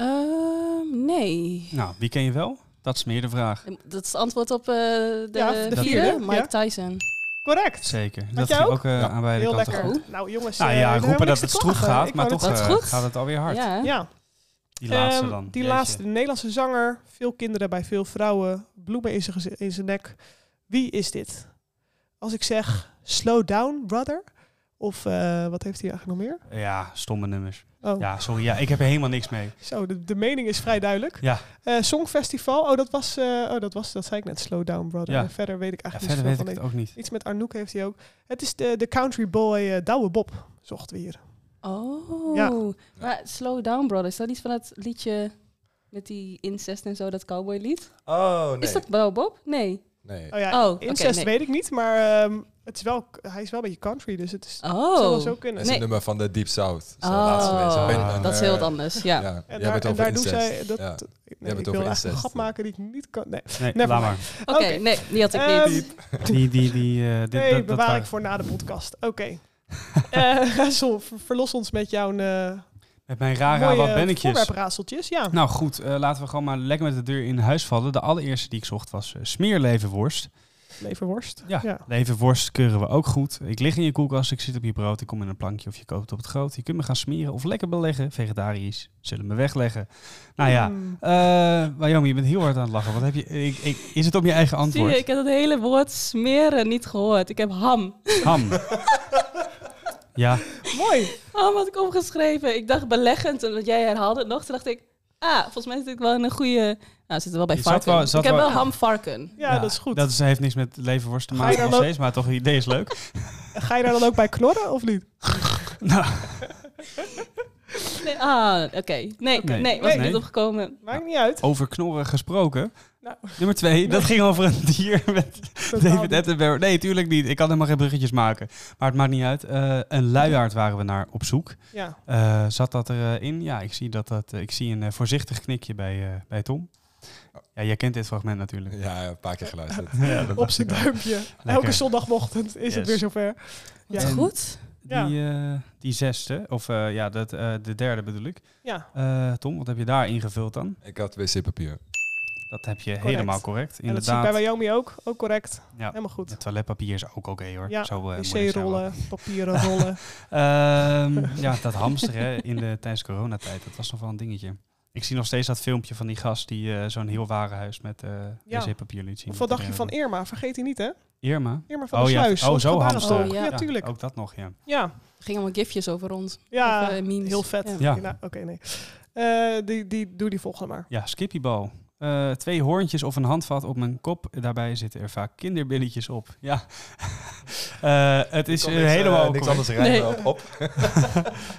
[SPEAKER 3] Ehm, nee.
[SPEAKER 1] Nou, wie ken je wel? Dat is meer de vraag.
[SPEAKER 3] Dat is het antwoord op eh, de,
[SPEAKER 2] Ja, de
[SPEAKER 3] vierde,
[SPEAKER 2] vierde,
[SPEAKER 3] Mike
[SPEAKER 2] ja.
[SPEAKER 3] Tyson.
[SPEAKER 2] Correct.
[SPEAKER 1] Zeker. dat
[SPEAKER 2] jij
[SPEAKER 1] ging
[SPEAKER 2] ook?
[SPEAKER 1] ook eh, aan beide
[SPEAKER 2] Heel
[SPEAKER 1] kanten
[SPEAKER 2] lekker.
[SPEAKER 1] goed.
[SPEAKER 2] Nou jongens,
[SPEAKER 1] Nou
[SPEAKER 2] eh, er
[SPEAKER 1] ja,
[SPEAKER 2] is
[SPEAKER 1] roepen
[SPEAKER 2] helemaal
[SPEAKER 1] dat het
[SPEAKER 2] niks te
[SPEAKER 1] stroef
[SPEAKER 2] klagen.
[SPEAKER 1] gaat,
[SPEAKER 2] Ik
[SPEAKER 1] maar
[SPEAKER 2] wou
[SPEAKER 1] toch
[SPEAKER 2] net
[SPEAKER 3] Wat
[SPEAKER 1] eh,
[SPEAKER 3] goed.
[SPEAKER 1] gaat het alweer hard.
[SPEAKER 3] Ja, hè?
[SPEAKER 2] zeggen. Ja,
[SPEAKER 1] Die laatste
[SPEAKER 2] Ehm,
[SPEAKER 1] dan.
[SPEAKER 2] Die
[SPEAKER 1] Jeetje.
[SPEAKER 2] laatste, de Nederlandse zanger. Veel kinderen bij veel vrouwen. Bloemen in zijn, gezi- in zijn nek. Wie is dit? Als ik zeg slow down, brother. Of eh, wat heeft hij eigenlijk nog meer?
[SPEAKER 1] Ja, stomme nummers.
[SPEAKER 2] Oh,
[SPEAKER 1] Ja, sorry. Ja, ik heb er helemaal niks mee.
[SPEAKER 2] zo, de, de mening is vrij duidelijk.
[SPEAKER 1] Ja.
[SPEAKER 2] Eh, Songfestival, oh dat, was, eh, oh, dat was, dat zei ik net, slow down, brother.
[SPEAKER 1] Ja.
[SPEAKER 2] En verder weet ik
[SPEAKER 1] Ja,
[SPEAKER 2] eigenlijk
[SPEAKER 1] verder
[SPEAKER 2] niet
[SPEAKER 1] weet
[SPEAKER 2] veel
[SPEAKER 1] ik
[SPEAKER 2] van.
[SPEAKER 1] het ook niet.
[SPEAKER 2] Iets met Arnoek heeft hij ook. Het is de, de country boy eh Douwe Bob, zochten we hier.
[SPEAKER 3] Oh.
[SPEAKER 2] Ja.
[SPEAKER 3] Maar Slow Down Brother, is dat iets van dat liedje met die incest en zo, dat cowboy lied?
[SPEAKER 4] Oh, nee.
[SPEAKER 3] Is dat Bro Bob? Nee.
[SPEAKER 4] Nee.
[SPEAKER 2] Oh ja,
[SPEAKER 3] Oh, oké,
[SPEAKER 2] incest
[SPEAKER 3] nee.
[SPEAKER 2] weet ik niet, maar ehm, het is wel, hij is wel een beetje country, dus het is, het zou wel
[SPEAKER 3] Oh.
[SPEAKER 2] zo
[SPEAKER 4] Dat
[SPEAKER 2] kunnen.
[SPEAKER 4] is
[SPEAKER 3] Nee.
[SPEAKER 4] een nummer van de Deep South. Zo,
[SPEAKER 3] Oh.
[SPEAKER 4] laatste wees. Ik
[SPEAKER 1] Ah.
[SPEAKER 4] een,
[SPEAKER 3] Dat is heel wat
[SPEAKER 4] eh,
[SPEAKER 3] anders, ja.
[SPEAKER 4] Ja,
[SPEAKER 2] En
[SPEAKER 4] jij
[SPEAKER 2] daar,
[SPEAKER 4] bent
[SPEAKER 2] en
[SPEAKER 4] over
[SPEAKER 2] daar doen zij
[SPEAKER 4] incest.
[SPEAKER 2] dat.
[SPEAKER 4] Ja.
[SPEAKER 2] Nee, ik
[SPEAKER 4] hebt het
[SPEAKER 2] wil eigenlijk
[SPEAKER 4] over
[SPEAKER 2] een
[SPEAKER 4] incest.
[SPEAKER 2] grap maken die ik niet kan. Nee,
[SPEAKER 1] Nee,
[SPEAKER 2] Never
[SPEAKER 1] laat
[SPEAKER 2] mind.
[SPEAKER 1] maar.
[SPEAKER 3] Oké, nee, die had ik
[SPEAKER 2] Ehm,
[SPEAKER 3] niet.
[SPEAKER 1] Die, die, die, eh, dit,
[SPEAKER 2] nee,
[SPEAKER 1] dat, dat
[SPEAKER 2] bewaar
[SPEAKER 1] waren-
[SPEAKER 2] ik voor na de podcast. Oké. Eh, Raadsel, ver- verlos ons met jouw eh
[SPEAKER 1] Met mijn rara,
[SPEAKER 2] mooie eh,
[SPEAKER 1] wat ben ik
[SPEAKER 2] voorwerpraadseltjes. Ja.
[SPEAKER 1] Nou goed, eh, laten we gewoon maar lekker met de deur in huis vallen. De allereerste die ik zocht was eh, smeerlevenworst.
[SPEAKER 2] Leverworst.
[SPEAKER 1] Ja, levenworst keuren we ook goed. Ik lig in je koelkast, ik zit op je brood, ik kom in een plankje of je koopt op het groot. Je kunt me gaan smeren of lekker beleggen. Vegetarisch zullen me wegleggen. Nou ja,
[SPEAKER 2] Mm.
[SPEAKER 1] eh Wyoming, je bent heel hard aan het lachen. Wat heb je, ik, ik, is het om je eigen
[SPEAKER 3] Zie je,
[SPEAKER 1] antwoord?
[SPEAKER 3] ik heb dat hele woord smeren niet gehoord. Ik heb ham.
[SPEAKER 1] Ham. ja,
[SPEAKER 2] Mooi.
[SPEAKER 3] Ham had ik opgeschreven. Ik dacht beleggend, omdat jij herhaalde het nog. Toen dacht ik, ah, volgens mij zit ik wel in een goede... Nou, zit er wel bij
[SPEAKER 1] Je zat
[SPEAKER 3] varken.
[SPEAKER 1] wel- zat
[SPEAKER 3] ik heb
[SPEAKER 1] wel-
[SPEAKER 3] wel ham varken.
[SPEAKER 2] Ja,
[SPEAKER 1] ja,
[SPEAKER 2] dat is goed.
[SPEAKER 1] Dat is, heeft niks met levenworst te
[SPEAKER 2] Ga je
[SPEAKER 1] maken
[SPEAKER 2] dan
[SPEAKER 1] nog
[SPEAKER 2] ook-
[SPEAKER 1] steeds, maar toch het idee is leuk.
[SPEAKER 2] Ga je daar dan ook bij knorren of niet?
[SPEAKER 1] nou,
[SPEAKER 3] Nee, ah, oké. Nee,
[SPEAKER 1] Nee.
[SPEAKER 3] nee, was ik
[SPEAKER 1] Nee.
[SPEAKER 3] niet opgekomen.
[SPEAKER 2] Maakt niet uit.
[SPEAKER 1] over knorren gesproken.
[SPEAKER 2] Nou.
[SPEAKER 1] Nummer twee, dat ging over een dier met David Attenborough. Nee, tuurlijk niet. Ik kan helemaal geen bruggetjes maken. Maar het maakt niet uit. Eh, een luiaard waren we naar op zoek.
[SPEAKER 2] Ja.
[SPEAKER 1] Eh, zat dat erin? ja, ik zie, dat dat, eh, ik zie een eh, voorzichtig knikje bij, eh, bij Tom. Ja, jij kent dit fragment natuurlijk.
[SPEAKER 4] Ja, een paar keer geluisterd.
[SPEAKER 1] Ja, dat
[SPEAKER 2] Op zijn duimpje. Elke zondagochtend is het
[SPEAKER 1] Yes.
[SPEAKER 2] weer zover.
[SPEAKER 3] Wat
[SPEAKER 2] Ja.
[SPEAKER 3] goed.
[SPEAKER 2] Ja.
[SPEAKER 1] Die, eh, die zesde, of eh, ja, dat, eh, de derde bedoel ik.
[SPEAKER 2] Ja.
[SPEAKER 1] Eh, Tom, wat heb je daar ingevuld dan?
[SPEAKER 4] Ik had wc-papier.
[SPEAKER 1] Dat heb je helemaal correct.
[SPEAKER 2] En dat zie ik
[SPEAKER 1] Inderdaad.
[SPEAKER 2] bij Wyoming ook. Ook correct.
[SPEAKER 1] ja.
[SPEAKER 2] Helemaal goed.
[SPEAKER 1] Het toiletpapier is ook oké hoor.
[SPEAKER 2] Ja,
[SPEAKER 1] Zo, eh, moeilijk zijn we ook
[SPEAKER 2] Wc-rollen, papieren rollen.
[SPEAKER 1] Ehm, ja, dat hamster hè, in de, tijdens coronatijd, dat was nog wel een dingetje. Ik zie nog steeds dat filmpje van die gast die eh, zo'n heel warenhuis met eh
[SPEAKER 2] Ja.
[SPEAKER 1] wc-papier liet zien.
[SPEAKER 2] Of wat dacht je van Irma? Vergeet hij niet, hè?
[SPEAKER 1] Irma?
[SPEAKER 2] Irma van
[SPEAKER 1] Oh
[SPEAKER 2] de
[SPEAKER 1] ja,
[SPEAKER 2] Sluis.
[SPEAKER 1] oh
[SPEAKER 2] op
[SPEAKER 1] zo
[SPEAKER 2] Gebarentolk.
[SPEAKER 1] hamster.
[SPEAKER 3] Oh,
[SPEAKER 2] ja. tuurlijk.
[SPEAKER 1] Ook dat nog, ja.
[SPEAKER 2] Ja,
[SPEAKER 3] Er gingen allemaal gifjes over ons.
[SPEAKER 2] ja.
[SPEAKER 3] Of, eh, memes.
[SPEAKER 2] heel vet.
[SPEAKER 3] Ja.
[SPEAKER 1] Ja.
[SPEAKER 2] Nou, Oké, nee. Eh, die, die, doe die volgende maar.
[SPEAKER 1] Ja, skippybal. Eh, twee hoorntjes of een handvat op mijn kop. Daarbij zitten er vaak kinderbilletjes op. Ja, Eh, het is
[SPEAKER 4] Ik kon
[SPEAKER 1] eh,
[SPEAKER 4] niks, eh,
[SPEAKER 1] helemaal...
[SPEAKER 4] niks
[SPEAKER 1] correct.
[SPEAKER 4] anders rijden
[SPEAKER 3] Nee.
[SPEAKER 4] op. op.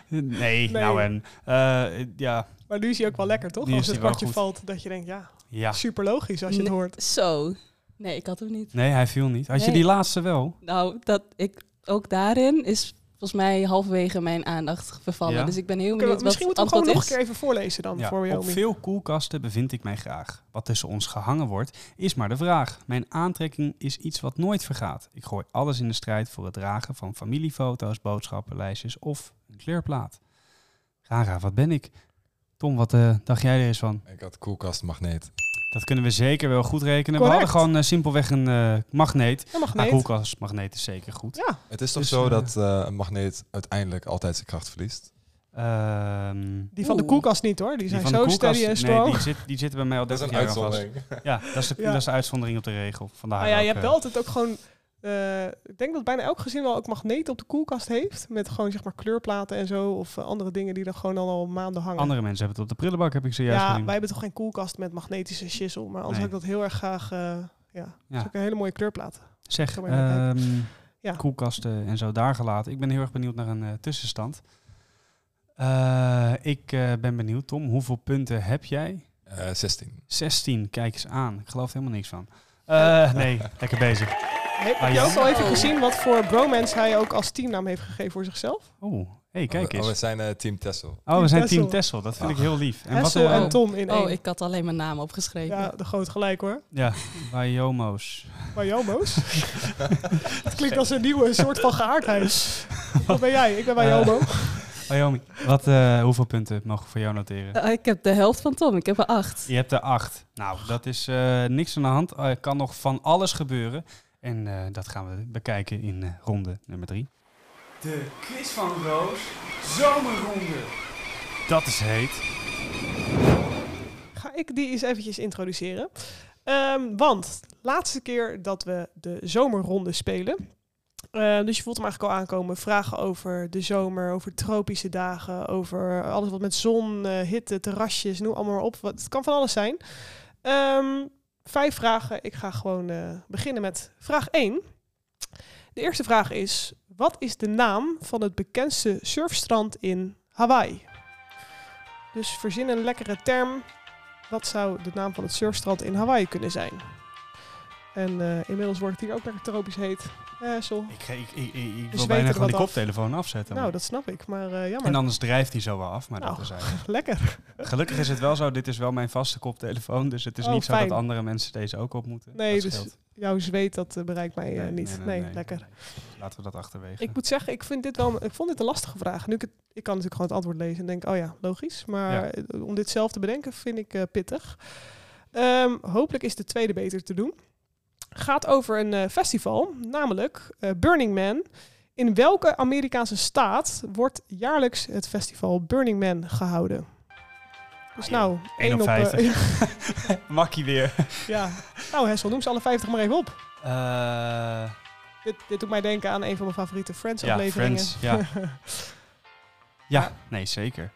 [SPEAKER 1] nee, nou en... eh, ja,
[SPEAKER 2] Maar nu is hij ook wel lekker, toch?
[SPEAKER 1] Die
[SPEAKER 2] Als
[SPEAKER 1] is
[SPEAKER 2] het
[SPEAKER 1] die wel
[SPEAKER 2] kwartje
[SPEAKER 1] goed.
[SPEAKER 2] valt, dat je denkt, ja,
[SPEAKER 1] ja.
[SPEAKER 2] super logisch als je het
[SPEAKER 3] Nee.
[SPEAKER 2] hoort.
[SPEAKER 3] Zo. Nee, ik had hem niet.
[SPEAKER 1] Nee, hij viel niet. Had je
[SPEAKER 3] Nee.
[SPEAKER 1] die laatste wel?
[SPEAKER 3] Nou, dat ik ook daarin is volgens mij halverwege mijn aandacht vervallen.
[SPEAKER 1] Ja?
[SPEAKER 3] Dus ik ben heel
[SPEAKER 2] Kunnen
[SPEAKER 3] benieuwd
[SPEAKER 2] we-
[SPEAKER 3] wat
[SPEAKER 2] misschien
[SPEAKER 3] het
[SPEAKER 2] moeten we hem gewoon nog
[SPEAKER 3] antwoord is.
[SPEAKER 2] een keer even voorlezen dan
[SPEAKER 1] Ja,
[SPEAKER 2] voor
[SPEAKER 1] op
[SPEAKER 2] Wyoming.
[SPEAKER 1] veel koelkasten bevind ik mij graag. Wat tussen ons gehangen wordt, is maar de vraag. Mijn aantrekking is iets wat nooit vergaat. Ik gooi alles in de strijd voor het dragen van familiefoto's, boodschappenlijstjes of een kleurplaat. Rara, wat ben ik? Tom, wat eh, dacht jij er eens van?
[SPEAKER 4] Ik had koelkastmagneet.
[SPEAKER 1] Dat kunnen we zeker wel goed rekenen.
[SPEAKER 2] Correct.
[SPEAKER 1] We hadden gewoon eh, simpelweg een eh, magneet.
[SPEAKER 2] Ja,
[SPEAKER 1] Maar
[SPEAKER 2] magneet.
[SPEAKER 1] koelkastmagneet is zeker goed.
[SPEAKER 2] Ja,
[SPEAKER 4] Het is toch
[SPEAKER 1] Dus,
[SPEAKER 4] zo
[SPEAKER 1] eh,
[SPEAKER 4] dat eh, een magneet uiteindelijk altijd zijn kracht verliest?
[SPEAKER 1] Ehm,
[SPEAKER 2] die van de
[SPEAKER 3] Oeh.
[SPEAKER 2] koelkast niet hoor. Die
[SPEAKER 1] die
[SPEAKER 2] zijn
[SPEAKER 1] van de
[SPEAKER 2] zo
[SPEAKER 1] koelkast-
[SPEAKER 2] steady en
[SPEAKER 1] nee,
[SPEAKER 2] strong.
[SPEAKER 1] die, zit, die zitten bij mij al 30 jaar aan vast. Ja, dat is, de,
[SPEAKER 2] Ja.
[SPEAKER 1] dat is de uitzondering op de regel. Vandaar
[SPEAKER 2] nou ja, je
[SPEAKER 1] ook,
[SPEAKER 2] hebt
[SPEAKER 1] eh,
[SPEAKER 2] wel altijd ook gewoon... eh, ik denk dat bijna elk gezin wel ook magneten op de koelkast heeft. Met gewoon zeg maar kleurplaten en zo. Of eh, andere dingen die dan gewoon al, al maanden hangen.
[SPEAKER 1] Andere mensen hebben het op de prullenbak, heb ik zojuist
[SPEAKER 2] ja,
[SPEAKER 1] gezien.
[SPEAKER 2] wij hebben toch geen koelkast met magnetische shizzle. Maar anders
[SPEAKER 1] Nee.
[SPEAKER 2] had ik dat heel erg graag... eh ja,
[SPEAKER 1] Ja.
[SPEAKER 2] Zulke hele mooie kleurplaten.
[SPEAKER 1] Zeg,
[SPEAKER 2] Ga maar even
[SPEAKER 1] ehm,
[SPEAKER 2] Ja.
[SPEAKER 1] koelkasten en zo daar gelaten. Ik ben heel erg benieuwd naar een eh, tussenstand. Eh, ik eh, ben benieuwd, Tom, hoeveel punten heb jij?
[SPEAKER 4] Eh, 16.
[SPEAKER 1] 16, kijk eens aan. Ik geloof er helemaal niks van. Eh,
[SPEAKER 2] Oh.
[SPEAKER 1] nee, lekker bezig.
[SPEAKER 2] Heb,
[SPEAKER 1] Ah,
[SPEAKER 2] je
[SPEAKER 1] ja.
[SPEAKER 2] ook al
[SPEAKER 3] Oh.
[SPEAKER 2] even gezien wat voor bromance hij ook als teamnaam heeft gegeven voor zichzelf?
[SPEAKER 1] Oeh, hey, kijk
[SPEAKER 4] Oh, we- oh, we Oh.
[SPEAKER 1] eens.
[SPEAKER 4] zijn eh, Team Tessel.
[SPEAKER 1] Oh, we zijn
[SPEAKER 2] Team
[SPEAKER 1] Team Tessel. Dat vind ik heel lief. En wat
[SPEAKER 2] Hessel
[SPEAKER 1] eh,
[SPEAKER 2] en Tom in één.
[SPEAKER 3] Oh, ik had alleen mijn naam opgeschreven.
[SPEAKER 2] Ja, de groot gelijk hoor.
[SPEAKER 1] Ja, Wajomo's.
[SPEAKER 2] Wajomo's? dat klinkt als een nieuwe soort van geaardheid. Wat ben jij? Ik ben
[SPEAKER 1] Eh.
[SPEAKER 2] Wajomo.
[SPEAKER 1] Wajomi. Wat, eh, hoeveel punten mogen we voor jou noteren?
[SPEAKER 3] Eh, ik heb de helft van Tom, ik heb er acht.
[SPEAKER 1] Je hebt er acht. Nou, dat is eh, niks aan de hand. Er kan nog van alles gebeuren. En eh, dat gaan we bekijken in eh, ronde nummer drie. De quiz van Roos, zomerronde. Dat is heet.
[SPEAKER 2] Ga ik die eens eventjes introduceren. Ehm, want laatste keer dat we de zomerronde spelen. eh, dus je voelt hem eigenlijk al aankomen. Vragen over de zomer, over tropische dagen, over alles wat met zon, eh, hitte, terrasjes, noem allemaal maar op. Wat, het kan van alles zijn. Ehm, vijf vragen. Ik ga gewoon eh, beginnen met vraag 1. De eerste vraag is: wat is de naam van het bekendste surfstrand in Hawaii? Dus verzin een lekkere term. Wat zou de naam van het surfstrand in Hawaii kunnen zijn? En eh, inmiddels wordt het hier ook lekker tropisch heet. Eh, Hessel.
[SPEAKER 1] Ik, ga- ik, ik, ik, ik wil
[SPEAKER 2] zweet
[SPEAKER 1] bijna
[SPEAKER 2] er
[SPEAKER 1] gewoon
[SPEAKER 2] wat
[SPEAKER 1] die
[SPEAKER 2] af.
[SPEAKER 1] koptelefoon afzetten.
[SPEAKER 2] Nou,
[SPEAKER 1] maar-
[SPEAKER 2] dat snap ik, maar eh, jammer.
[SPEAKER 1] en anders drijft hij zo wel af, maar dat
[SPEAKER 2] Nou.
[SPEAKER 1] is eigenlijk.
[SPEAKER 2] Lekker.
[SPEAKER 1] Gelukkig is het wel zo, dit is wel mijn vaste koptelefoon. Dus het is
[SPEAKER 2] Oh,
[SPEAKER 1] niet zo
[SPEAKER 2] fijn.
[SPEAKER 1] dat andere mensen deze ook op moeten.
[SPEAKER 2] Nee,
[SPEAKER 1] Dat
[SPEAKER 2] dus
[SPEAKER 1] scheelt.
[SPEAKER 2] Jouw zweet, dat eh, bereikt mij eh,
[SPEAKER 1] Nee,
[SPEAKER 2] niet.
[SPEAKER 1] nee,
[SPEAKER 2] Nee,
[SPEAKER 1] nee, nee.
[SPEAKER 2] lekker.
[SPEAKER 1] Laten we dat achterwege.
[SPEAKER 2] Ik moet zeggen, ik, vind dit wel, een- ik vond dit een lastige vraag. Nu ik, het, ik kan natuurlijk gewoon het antwoord lezen en denk, oh ja, logisch. Maar
[SPEAKER 1] Ja.
[SPEAKER 2] eh, om dit zelf te bedenken vind ik eh, pittig. Ehm, hopelijk is de tweede beter te doen. Gaat over een eh, festival, namelijk eh, Burning Man. In welke Amerikaanse staat wordt jaarlijks het festival Burning Man gehouden? Dus
[SPEAKER 1] Ah, joh.
[SPEAKER 2] nou,
[SPEAKER 1] Eén
[SPEAKER 2] één
[SPEAKER 1] op
[SPEAKER 2] op... eh,
[SPEAKER 1] Makkie weer.
[SPEAKER 2] ja. Nou Hessel, noem ze alle 50 maar even op.
[SPEAKER 1] Eh,
[SPEAKER 2] Dit, dit doet mij denken aan een van mijn favoriete
[SPEAKER 1] ja,
[SPEAKER 2] Friends-afleveringen.
[SPEAKER 1] Friends. Ja. Ja, nee, zeker.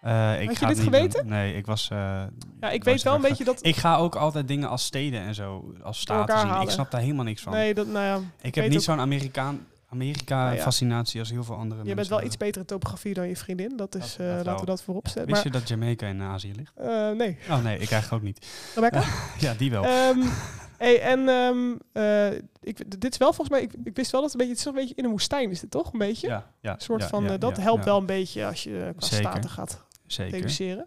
[SPEAKER 1] Eh, ik
[SPEAKER 2] Had je
[SPEAKER 1] ga
[SPEAKER 2] dit
[SPEAKER 1] het niet
[SPEAKER 2] geweten?
[SPEAKER 1] doen. Nee, ik was... eh,
[SPEAKER 2] Ja, ik
[SPEAKER 1] was
[SPEAKER 2] weet wel een
[SPEAKER 1] erg-
[SPEAKER 2] beetje dat...
[SPEAKER 1] Ik ga ook altijd dingen als steden en zo, als staten
[SPEAKER 2] elkaar
[SPEAKER 1] zien. Ik
[SPEAKER 2] halen.
[SPEAKER 1] snap daar helemaal niks van.
[SPEAKER 2] Nee, dat, nou ja,
[SPEAKER 1] ik
[SPEAKER 2] weet
[SPEAKER 1] heb niet
[SPEAKER 2] ook-
[SPEAKER 1] zo'n Amerikaan,
[SPEAKER 2] Nou ja.
[SPEAKER 1] Amerika-fascinatie als heel veel andere
[SPEAKER 2] je
[SPEAKER 1] mensen.
[SPEAKER 2] bent wel iets beter in topografie dan je vriendin. Dat is,
[SPEAKER 1] Dat-
[SPEAKER 2] eh,
[SPEAKER 1] dat wel.
[SPEAKER 2] laten we dat voorop zetten.
[SPEAKER 1] Wist
[SPEAKER 2] Maar,
[SPEAKER 1] je dat Jamaica in Azië ligt?
[SPEAKER 2] eh, nee,
[SPEAKER 1] Oh nee, ik eigenlijk ook niet.
[SPEAKER 2] Rebecca?
[SPEAKER 1] Ja, die wel.
[SPEAKER 2] Ehm, hey, en ehm, eh, ik, dit is wel volgens mij... Ik, ik wist wel dat het een beetje... Het is toch een beetje in een woestijn, is dit toch? Een beetje?
[SPEAKER 1] ja, ja,
[SPEAKER 2] Een soort
[SPEAKER 1] ja,
[SPEAKER 2] van,
[SPEAKER 1] ja,
[SPEAKER 2] eh, dat
[SPEAKER 1] ja, ja.
[SPEAKER 2] helpt wel een beetje als je eh, qua
[SPEAKER 1] Zeker.
[SPEAKER 2] staten gaat
[SPEAKER 1] Zeker.
[SPEAKER 2] deduceren.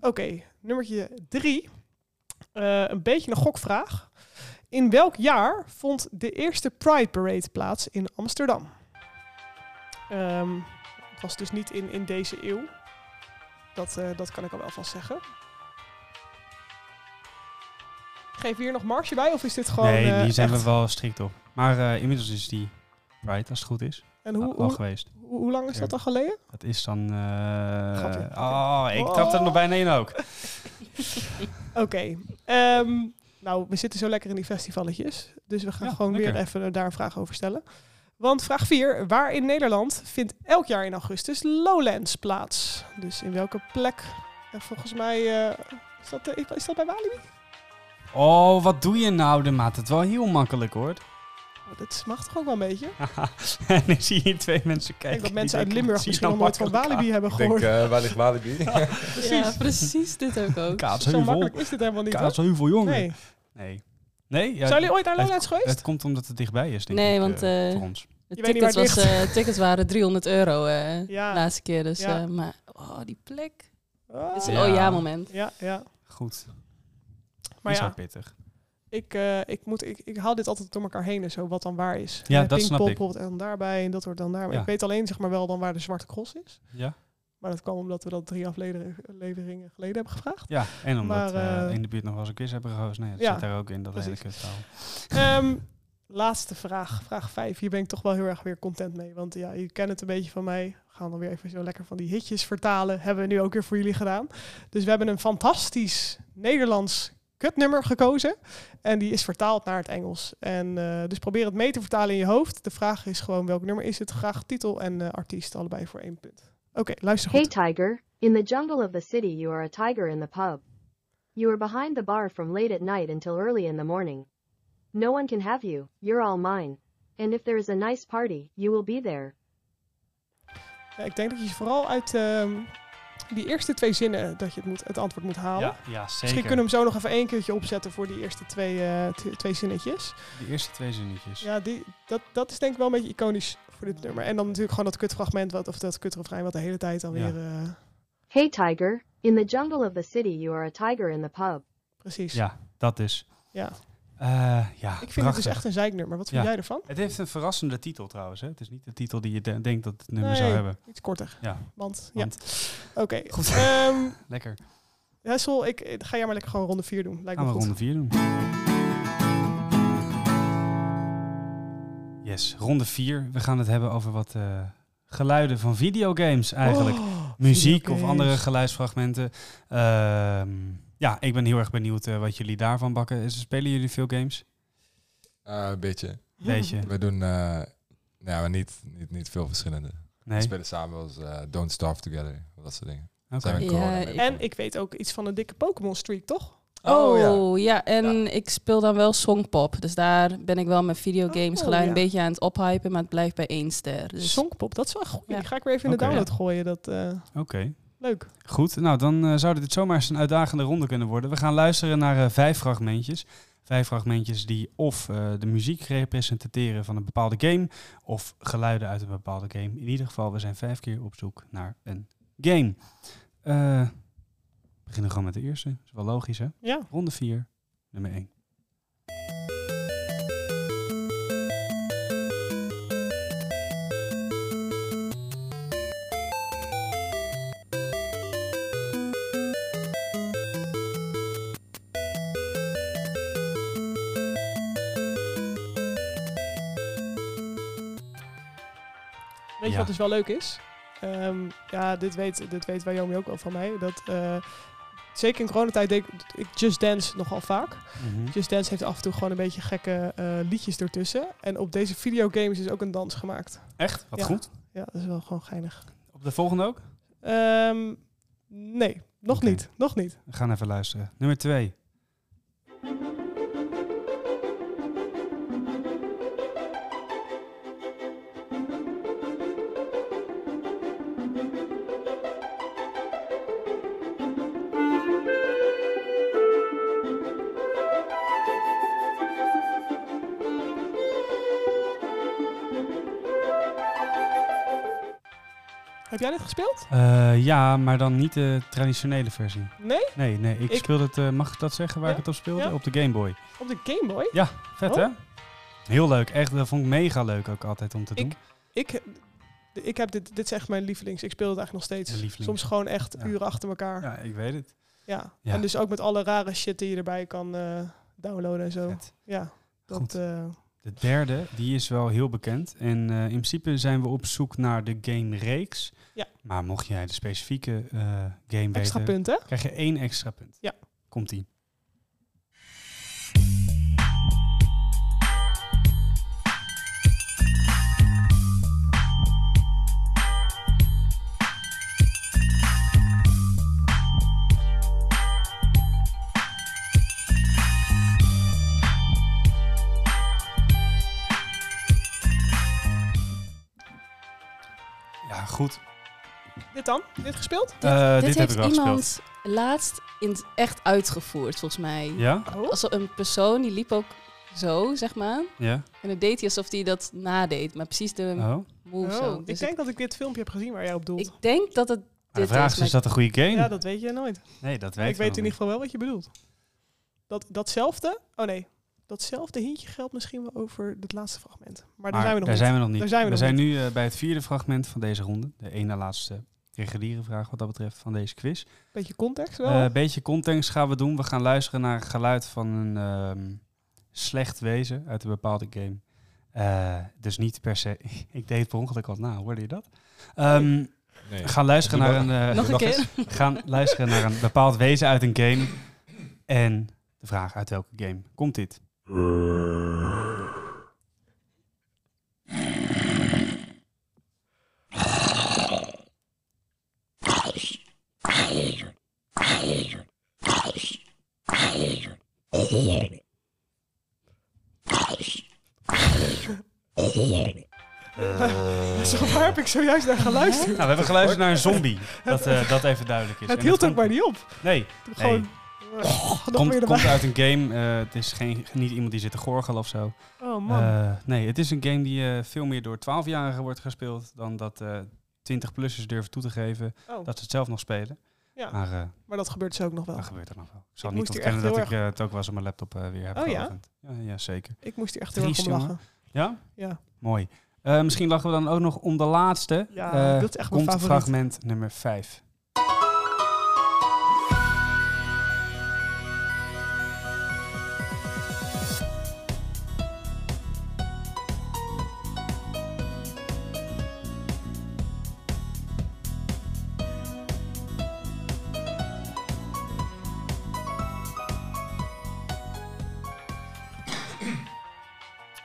[SPEAKER 2] Oké, nummertje drie. Eh, een beetje een gokvraag. In welk jaar vond de eerste Pride Parade plaats in Amsterdam? Ehm, het was dus niet in, in deze eeuw. Dat, eh, dat kan ik al wel vast zeggen. Geef hier nog marge bij of is dit gewoon...
[SPEAKER 1] nee,
[SPEAKER 2] eh,
[SPEAKER 1] die zijn
[SPEAKER 2] echt-
[SPEAKER 1] we wel strikt op. Maar eh, inmiddels is die Pride, als het goed is,
[SPEAKER 2] En
[SPEAKER 1] al,
[SPEAKER 2] hoe,
[SPEAKER 1] al
[SPEAKER 2] hoe,
[SPEAKER 1] geweest.
[SPEAKER 2] hoe, hoe lang is dat al geleden?
[SPEAKER 1] Dat is dan... eh,
[SPEAKER 2] Grapje.
[SPEAKER 1] oh, ik trap er nog bijna in ook.
[SPEAKER 2] Oké. ehm, nou, we zitten zo lekker in die festivalletjes. Dus we gaan
[SPEAKER 1] Ja,
[SPEAKER 2] gewoon weer
[SPEAKER 1] lekker.
[SPEAKER 2] even eh, daar een vraag over stellen. Want vraag 4. Waar in Nederland vindt elk jaar in augustus Lowlands plaats? Dus in welke plek? En volgens mij... eh, is, dat, eh, is dat bij Walibi?
[SPEAKER 1] Oh, wat doe je nou? De maat het wel heel makkelijk hoor.
[SPEAKER 2] Oh, dat mag toch ook wel een beetje?
[SPEAKER 1] en ik zie hier twee mensen
[SPEAKER 2] Ik
[SPEAKER 1] kijken.
[SPEAKER 2] denk dat
[SPEAKER 1] die
[SPEAKER 2] mensen uit
[SPEAKER 1] denken,
[SPEAKER 2] Limburg
[SPEAKER 1] zie je
[SPEAKER 2] misschien
[SPEAKER 1] nou
[SPEAKER 2] nog nooit van
[SPEAKER 1] makkelijk
[SPEAKER 2] Walibi hebben
[SPEAKER 4] Ik denk,
[SPEAKER 2] gehoord.
[SPEAKER 4] eh waar ligt Walibi?
[SPEAKER 1] eh,
[SPEAKER 3] Precies. Ja, precies. Dit heb ik ook.
[SPEAKER 1] aan.
[SPEAKER 2] Zo
[SPEAKER 1] Kaatsheuvel.
[SPEAKER 2] makkelijk is dit helemaal niet. hoor.
[SPEAKER 1] Kaatsheuvel, jongen.
[SPEAKER 2] Nee.
[SPEAKER 1] Nee. Nee. nee ja,
[SPEAKER 2] Zijn jullie ooit naar
[SPEAKER 1] het-
[SPEAKER 2] Lowlands geweest?
[SPEAKER 1] Het komt omdat het dichtbij is, denk
[SPEAKER 3] Nee,
[SPEAKER 1] ik.
[SPEAKER 3] want,
[SPEAKER 1] eh,
[SPEAKER 3] eh,
[SPEAKER 1] voor ons.
[SPEAKER 3] De
[SPEAKER 2] Je weet niet
[SPEAKER 3] tickets,
[SPEAKER 2] waar het
[SPEAKER 3] was, eh, tickets waren 300 euro eh
[SPEAKER 2] Ja.
[SPEAKER 3] laatste keer. Dus,
[SPEAKER 2] Ja.
[SPEAKER 3] eh, maar oh, die plek.
[SPEAKER 2] Ah.
[SPEAKER 3] Dit is een
[SPEAKER 1] Ja.
[SPEAKER 3] oh ja moment.
[SPEAKER 2] Ja, ja.
[SPEAKER 1] Goed.
[SPEAKER 2] Maar
[SPEAKER 1] is
[SPEAKER 2] ja,
[SPEAKER 1] ook pittig.
[SPEAKER 2] ik, eh, ik, moet, ik, ik haal dit altijd door elkaar heen en zo, wat dan waar is.
[SPEAKER 1] Ja,
[SPEAKER 2] Eh,
[SPEAKER 1] dat snap
[SPEAKER 2] Pinkpop
[SPEAKER 1] ik.
[SPEAKER 2] bijvoorbeeld en daarbij en dat wordt dan daar. Maar
[SPEAKER 1] Ja.
[SPEAKER 2] Ik weet alleen zeg maar wel dan waar de Zwarte Cross is.
[SPEAKER 1] Ja.
[SPEAKER 2] Maar dat kwam omdat we dat drie afleveringen geleden hebben gevraagd.
[SPEAKER 1] Ja, en omdat
[SPEAKER 2] Maar,
[SPEAKER 1] eh,
[SPEAKER 2] eh,
[SPEAKER 1] in de buurt nog wel eens een quiz hebben gehost. Nee, dat
[SPEAKER 2] ja,
[SPEAKER 1] zit daar ook in, dat hele
[SPEAKER 2] precies.
[SPEAKER 1] kutverhaal.
[SPEAKER 2] Ehm, laatste vraag, vraag vijf. Hier ben ik toch wel heel erg weer content mee. Want ja, je kent het een beetje van mij. We gaan dan weer even zo lekker van die hitjes vertalen. Hebben we nu ook weer voor jullie gedaan. Dus we hebben een fantastisch Nederlands kutnummer gekozen. En die is vertaald naar het Engels. En eh, dus probeer het mee te vertalen in je hoofd. De vraag is gewoon welk nummer is het? Graag titel en eh, artiest, allebei voor één punt. Oké, luister
[SPEAKER 8] Hey
[SPEAKER 2] goed.
[SPEAKER 8] tiger, in the jungle of the city you are a tiger in the pub. You are behind the bar from late at night until early in the morning. No one can have you, you're all mine. And if there is a nice party, you will be there.
[SPEAKER 2] Ja, ik denk dat je vooral uit ehm, die eerste twee zinnen dat je het, moet, het antwoord moet halen.
[SPEAKER 1] Ja, ja, zeker.
[SPEAKER 2] Nou, Misschien kunnen we hem zo nog even één keertje opzetten voor die eerste twee, eh, t- twee zinnetjes.
[SPEAKER 1] De eerste twee zinnetjes.
[SPEAKER 2] Ja, die, dat, dat is denk ik wel een beetje iconisch voor dit nummer. En dan natuurlijk gewoon dat kutfragment, wat, of dat kutrefrein wat de hele tijd alweer... eh,
[SPEAKER 8] Hey tiger, in the jungle of the city you are a tiger in the pub.
[SPEAKER 2] precies.
[SPEAKER 1] Ja, dat dus.
[SPEAKER 2] Ja.
[SPEAKER 1] Eh, ja,
[SPEAKER 2] Ik vind het
[SPEAKER 1] prachtig.
[SPEAKER 2] dus echt een zeiknummer. Wat vind
[SPEAKER 1] Ja.
[SPEAKER 2] jij ervan?
[SPEAKER 1] Het heeft een verrassende titel trouwens. Hè? Het is niet de titel die je de- denkt dat het nummer
[SPEAKER 2] Nee.
[SPEAKER 1] zou hebben.
[SPEAKER 2] Iets korter.
[SPEAKER 1] Ja.
[SPEAKER 2] Want, ja. Oké.
[SPEAKER 1] Goed.
[SPEAKER 2] Ehm,
[SPEAKER 1] Lekker.
[SPEAKER 2] Hessel, ik, ik- ga jij maar lekker gewoon ronde 4 doen. Lijkt
[SPEAKER 1] Gaan
[SPEAKER 2] me
[SPEAKER 1] we ronde
[SPEAKER 2] goed.
[SPEAKER 1] 4 doen. Yes, ronde 4. We gaan het hebben over wat eh, geluiden van videogames eigenlijk.
[SPEAKER 2] Oh,
[SPEAKER 1] Muziek of
[SPEAKER 2] videogames.
[SPEAKER 1] andere geluidsfragmenten. Ehm, ja, ik ben heel erg benieuwd eh, wat jullie daarvan bakken. Is- Spelen jullie veel games?
[SPEAKER 4] Eh, een beetje.
[SPEAKER 1] Weet je?
[SPEAKER 4] We doen eh, nou, maar niet, niet, niet veel verschillende. We
[SPEAKER 1] Nee?
[SPEAKER 4] spelen samen als eh, Don't Starve Together. Dat soort dingen.
[SPEAKER 1] Oké.
[SPEAKER 4] Zijn we
[SPEAKER 3] Ja,
[SPEAKER 4] corona
[SPEAKER 3] ik-
[SPEAKER 4] mee.
[SPEAKER 2] En ik weet ook iets van een dikke Pokémon streak, toch?
[SPEAKER 3] Oh, ja.
[SPEAKER 4] ja.
[SPEAKER 3] en ik speel dan wel songpop. Dus daar ben ik wel mijn videogames
[SPEAKER 2] Oh,
[SPEAKER 3] geluid
[SPEAKER 2] ja.
[SPEAKER 3] een beetje aan het ophypen, maar het blijft bij één ster. Dus
[SPEAKER 2] Songpop, dat is wel goed.
[SPEAKER 3] Ja.
[SPEAKER 2] Die ga ik weer even in de
[SPEAKER 1] Oké.
[SPEAKER 2] download gooien. Dat, eh,
[SPEAKER 1] Oké.
[SPEAKER 2] leuk.
[SPEAKER 1] Goed, nou dan eh, zou dit zomaar eens een uitdagende ronde kunnen worden. We gaan luisteren naar eh, vijf fragmentjes. Vijf fragmentjes die of eh, de muziek representeren van een bepaalde game, of geluiden uit een bepaalde game. In ieder geval, we zijn vijf keer op zoek naar een game. Eh, we beginnen gewoon met de eerste. Dat is wel logisch, hè?
[SPEAKER 2] Ja.
[SPEAKER 1] Ronde 4, nummer 1.
[SPEAKER 2] Weet je
[SPEAKER 1] Ja.
[SPEAKER 2] wat dus wel leuk is? Ehm, ja, dit weet, dit weet Wyoming ook wel van mij. Dat, eh, zeker in coronatijd deed ik- ik Just Dance nogal vaak. Just Dance heeft af en toe gewoon een beetje gekke eh, liedjes ertussen. En op deze videogames is ook een dans gemaakt.
[SPEAKER 1] Echt? Wat
[SPEAKER 2] Ja.
[SPEAKER 1] goed.
[SPEAKER 2] Ja, dat is wel gewoon geinig.
[SPEAKER 1] Op de volgende ook?
[SPEAKER 2] Ehm, nee, nog
[SPEAKER 1] Oké.
[SPEAKER 2] niet. Nog niet.
[SPEAKER 1] We gaan even luisteren. Nummer 2.
[SPEAKER 2] Heb jij dit gespeeld?
[SPEAKER 1] Eh, ja, maar dan niet de traditionele versie.
[SPEAKER 2] Nee?
[SPEAKER 1] Nee, nee, ik,
[SPEAKER 2] Ik-
[SPEAKER 1] speel het, eh, mag ik dat zeggen waar
[SPEAKER 2] Ja,
[SPEAKER 1] ik het op speelde?
[SPEAKER 2] ja.
[SPEAKER 1] Op de Game Boy.
[SPEAKER 2] Op de Game Boy?
[SPEAKER 1] Ja, vet
[SPEAKER 2] Oh.
[SPEAKER 1] hè? Heel leuk, echt. Dat vond ik mega leuk ook altijd om te doen.
[SPEAKER 2] Ik, ik heb dit, dit is echt mijn lievelings. Ik speel het eigenlijk nog
[SPEAKER 1] Je
[SPEAKER 2] steeds.
[SPEAKER 1] lievelings.
[SPEAKER 2] Soms gewoon echt
[SPEAKER 1] Ja.
[SPEAKER 2] uren achter elkaar. Ja.
[SPEAKER 1] Ja, ik weet het. Ja.
[SPEAKER 2] En dus ook met alle rare shit die je erbij kan eh, downloaden en zo.
[SPEAKER 1] Vet.
[SPEAKER 2] Ja. Dat,
[SPEAKER 1] Goed.
[SPEAKER 2] eh,
[SPEAKER 1] De derde, die is wel heel bekend. En eh, in principe zijn we op zoek naar de game reeks.
[SPEAKER 2] Ja.
[SPEAKER 1] Maar mocht jij de specifieke eh, game
[SPEAKER 2] extra
[SPEAKER 1] weten,
[SPEAKER 2] punt, hè?
[SPEAKER 1] krijg je één extra punt.
[SPEAKER 2] Ja.
[SPEAKER 1] Komt-ie. Ja, goed.
[SPEAKER 2] Dit dan? Dit gespeeld?
[SPEAKER 3] dit,
[SPEAKER 1] Eh, dit
[SPEAKER 3] dit
[SPEAKER 1] heb
[SPEAKER 3] heeft
[SPEAKER 1] ik wel
[SPEAKER 3] iemand laatst in het echt uitgevoerd, volgens mij.
[SPEAKER 1] Ja?
[SPEAKER 2] Oh.
[SPEAKER 3] Als een persoon die liep ook zo, zeg maar.
[SPEAKER 1] Ja?
[SPEAKER 3] En dat deed hij alsof hij dat nadeed, maar precies de
[SPEAKER 1] Oh.
[SPEAKER 3] move zo.
[SPEAKER 2] ik
[SPEAKER 3] Dus
[SPEAKER 2] denk dat ik dit filmpje heb gezien waar jij op
[SPEAKER 3] ik,
[SPEAKER 2] doelt.
[SPEAKER 3] ik denk dat het.
[SPEAKER 1] Maar de
[SPEAKER 3] Dit
[SPEAKER 1] vraag is,
[SPEAKER 3] is mijn-
[SPEAKER 1] is dat een goede game?
[SPEAKER 2] ja, dat weet je nooit.
[SPEAKER 1] Nee, dat
[SPEAKER 2] Maar
[SPEAKER 1] weet
[SPEAKER 2] ik weet in ieder geval wel wat je bedoelt. Dat, datzelfde, oh nee, datzelfde hintje geldt misschien wel over het laatste fragment. Maar, daar zijn we nog niet.
[SPEAKER 1] nog niet.
[SPEAKER 2] Daar zijn we nog
[SPEAKER 1] zijn
[SPEAKER 2] niet.
[SPEAKER 1] nu eh, bij het vierde fragment van deze ronde. De ene laatste reguliere vraag wat dat betreft van deze quiz. Eh,
[SPEAKER 2] Beetje context wel.
[SPEAKER 1] Een beetje context gaan we doen. We gaan luisteren naar een geluid van een ehm, slecht wezen uit een bepaalde game. Eh, dus niet per se. Ik deed het per ongeluk al na, hoorde je dat? Ehm,
[SPEAKER 4] Nee.
[SPEAKER 1] we gaan luisteren naar
[SPEAKER 4] Doe
[SPEAKER 1] een, eh,
[SPEAKER 3] nog een keer.
[SPEAKER 1] we gaan luisteren naar een bepaald wezen uit een game. En de vraag uit welke game komt dit?
[SPEAKER 2] Zo Dus waar heb ik zojuist naar geluisterd.
[SPEAKER 1] Nou, we hebben geluisterd naar een zombie. Dat, eh, dat even duidelijk is.
[SPEAKER 2] Het
[SPEAKER 1] En
[SPEAKER 2] hield
[SPEAKER 1] dat
[SPEAKER 2] ook maar
[SPEAKER 1] komt-
[SPEAKER 2] niet op.
[SPEAKER 1] Nee,
[SPEAKER 2] Gewoon eh, nog meer
[SPEAKER 1] komt,
[SPEAKER 2] erbij.
[SPEAKER 1] komt uit een game. eh, het is geen, niet iemand die zit te gorgelen of zo.
[SPEAKER 2] Oh man.
[SPEAKER 1] Eh, nee, het is een game die eh, veel meer door 12-jarigen wordt gespeeld dan dat eh 20-plussers durven toe te geven
[SPEAKER 2] Oh,
[SPEAKER 1] dat ze het zelf nog spelen.
[SPEAKER 2] Ja.
[SPEAKER 1] Maar eh
[SPEAKER 2] maar dat gebeurt dus ook nog wel.
[SPEAKER 1] dat gebeurt er nog wel. Ik zal
[SPEAKER 2] Ik
[SPEAKER 1] niet
[SPEAKER 2] moest hier echt
[SPEAKER 1] ontkennen dat
[SPEAKER 2] heel
[SPEAKER 1] ik eh, het ook wel eens op mijn laptop eh, weer heb
[SPEAKER 2] Oh, ja?
[SPEAKER 1] geopend. ja? Ja, zeker.
[SPEAKER 2] Ik moest hier echt heel erg
[SPEAKER 1] Triest,
[SPEAKER 2] om lachen.
[SPEAKER 1] Ja?
[SPEAKER 2] Ja.
[SPEAKER 1] Mooi. Eh, misschien lachen we dan ook nog om de laatste.
[SPEAKER 2] Ja,
[SPEAKER 1] Eh,
[SPEAKER 2] dat is echt mijn
[SPEAKER 1] komt
[SPEAKER 2] favoriet.
[SPEAKER 1] fragment nummer 5.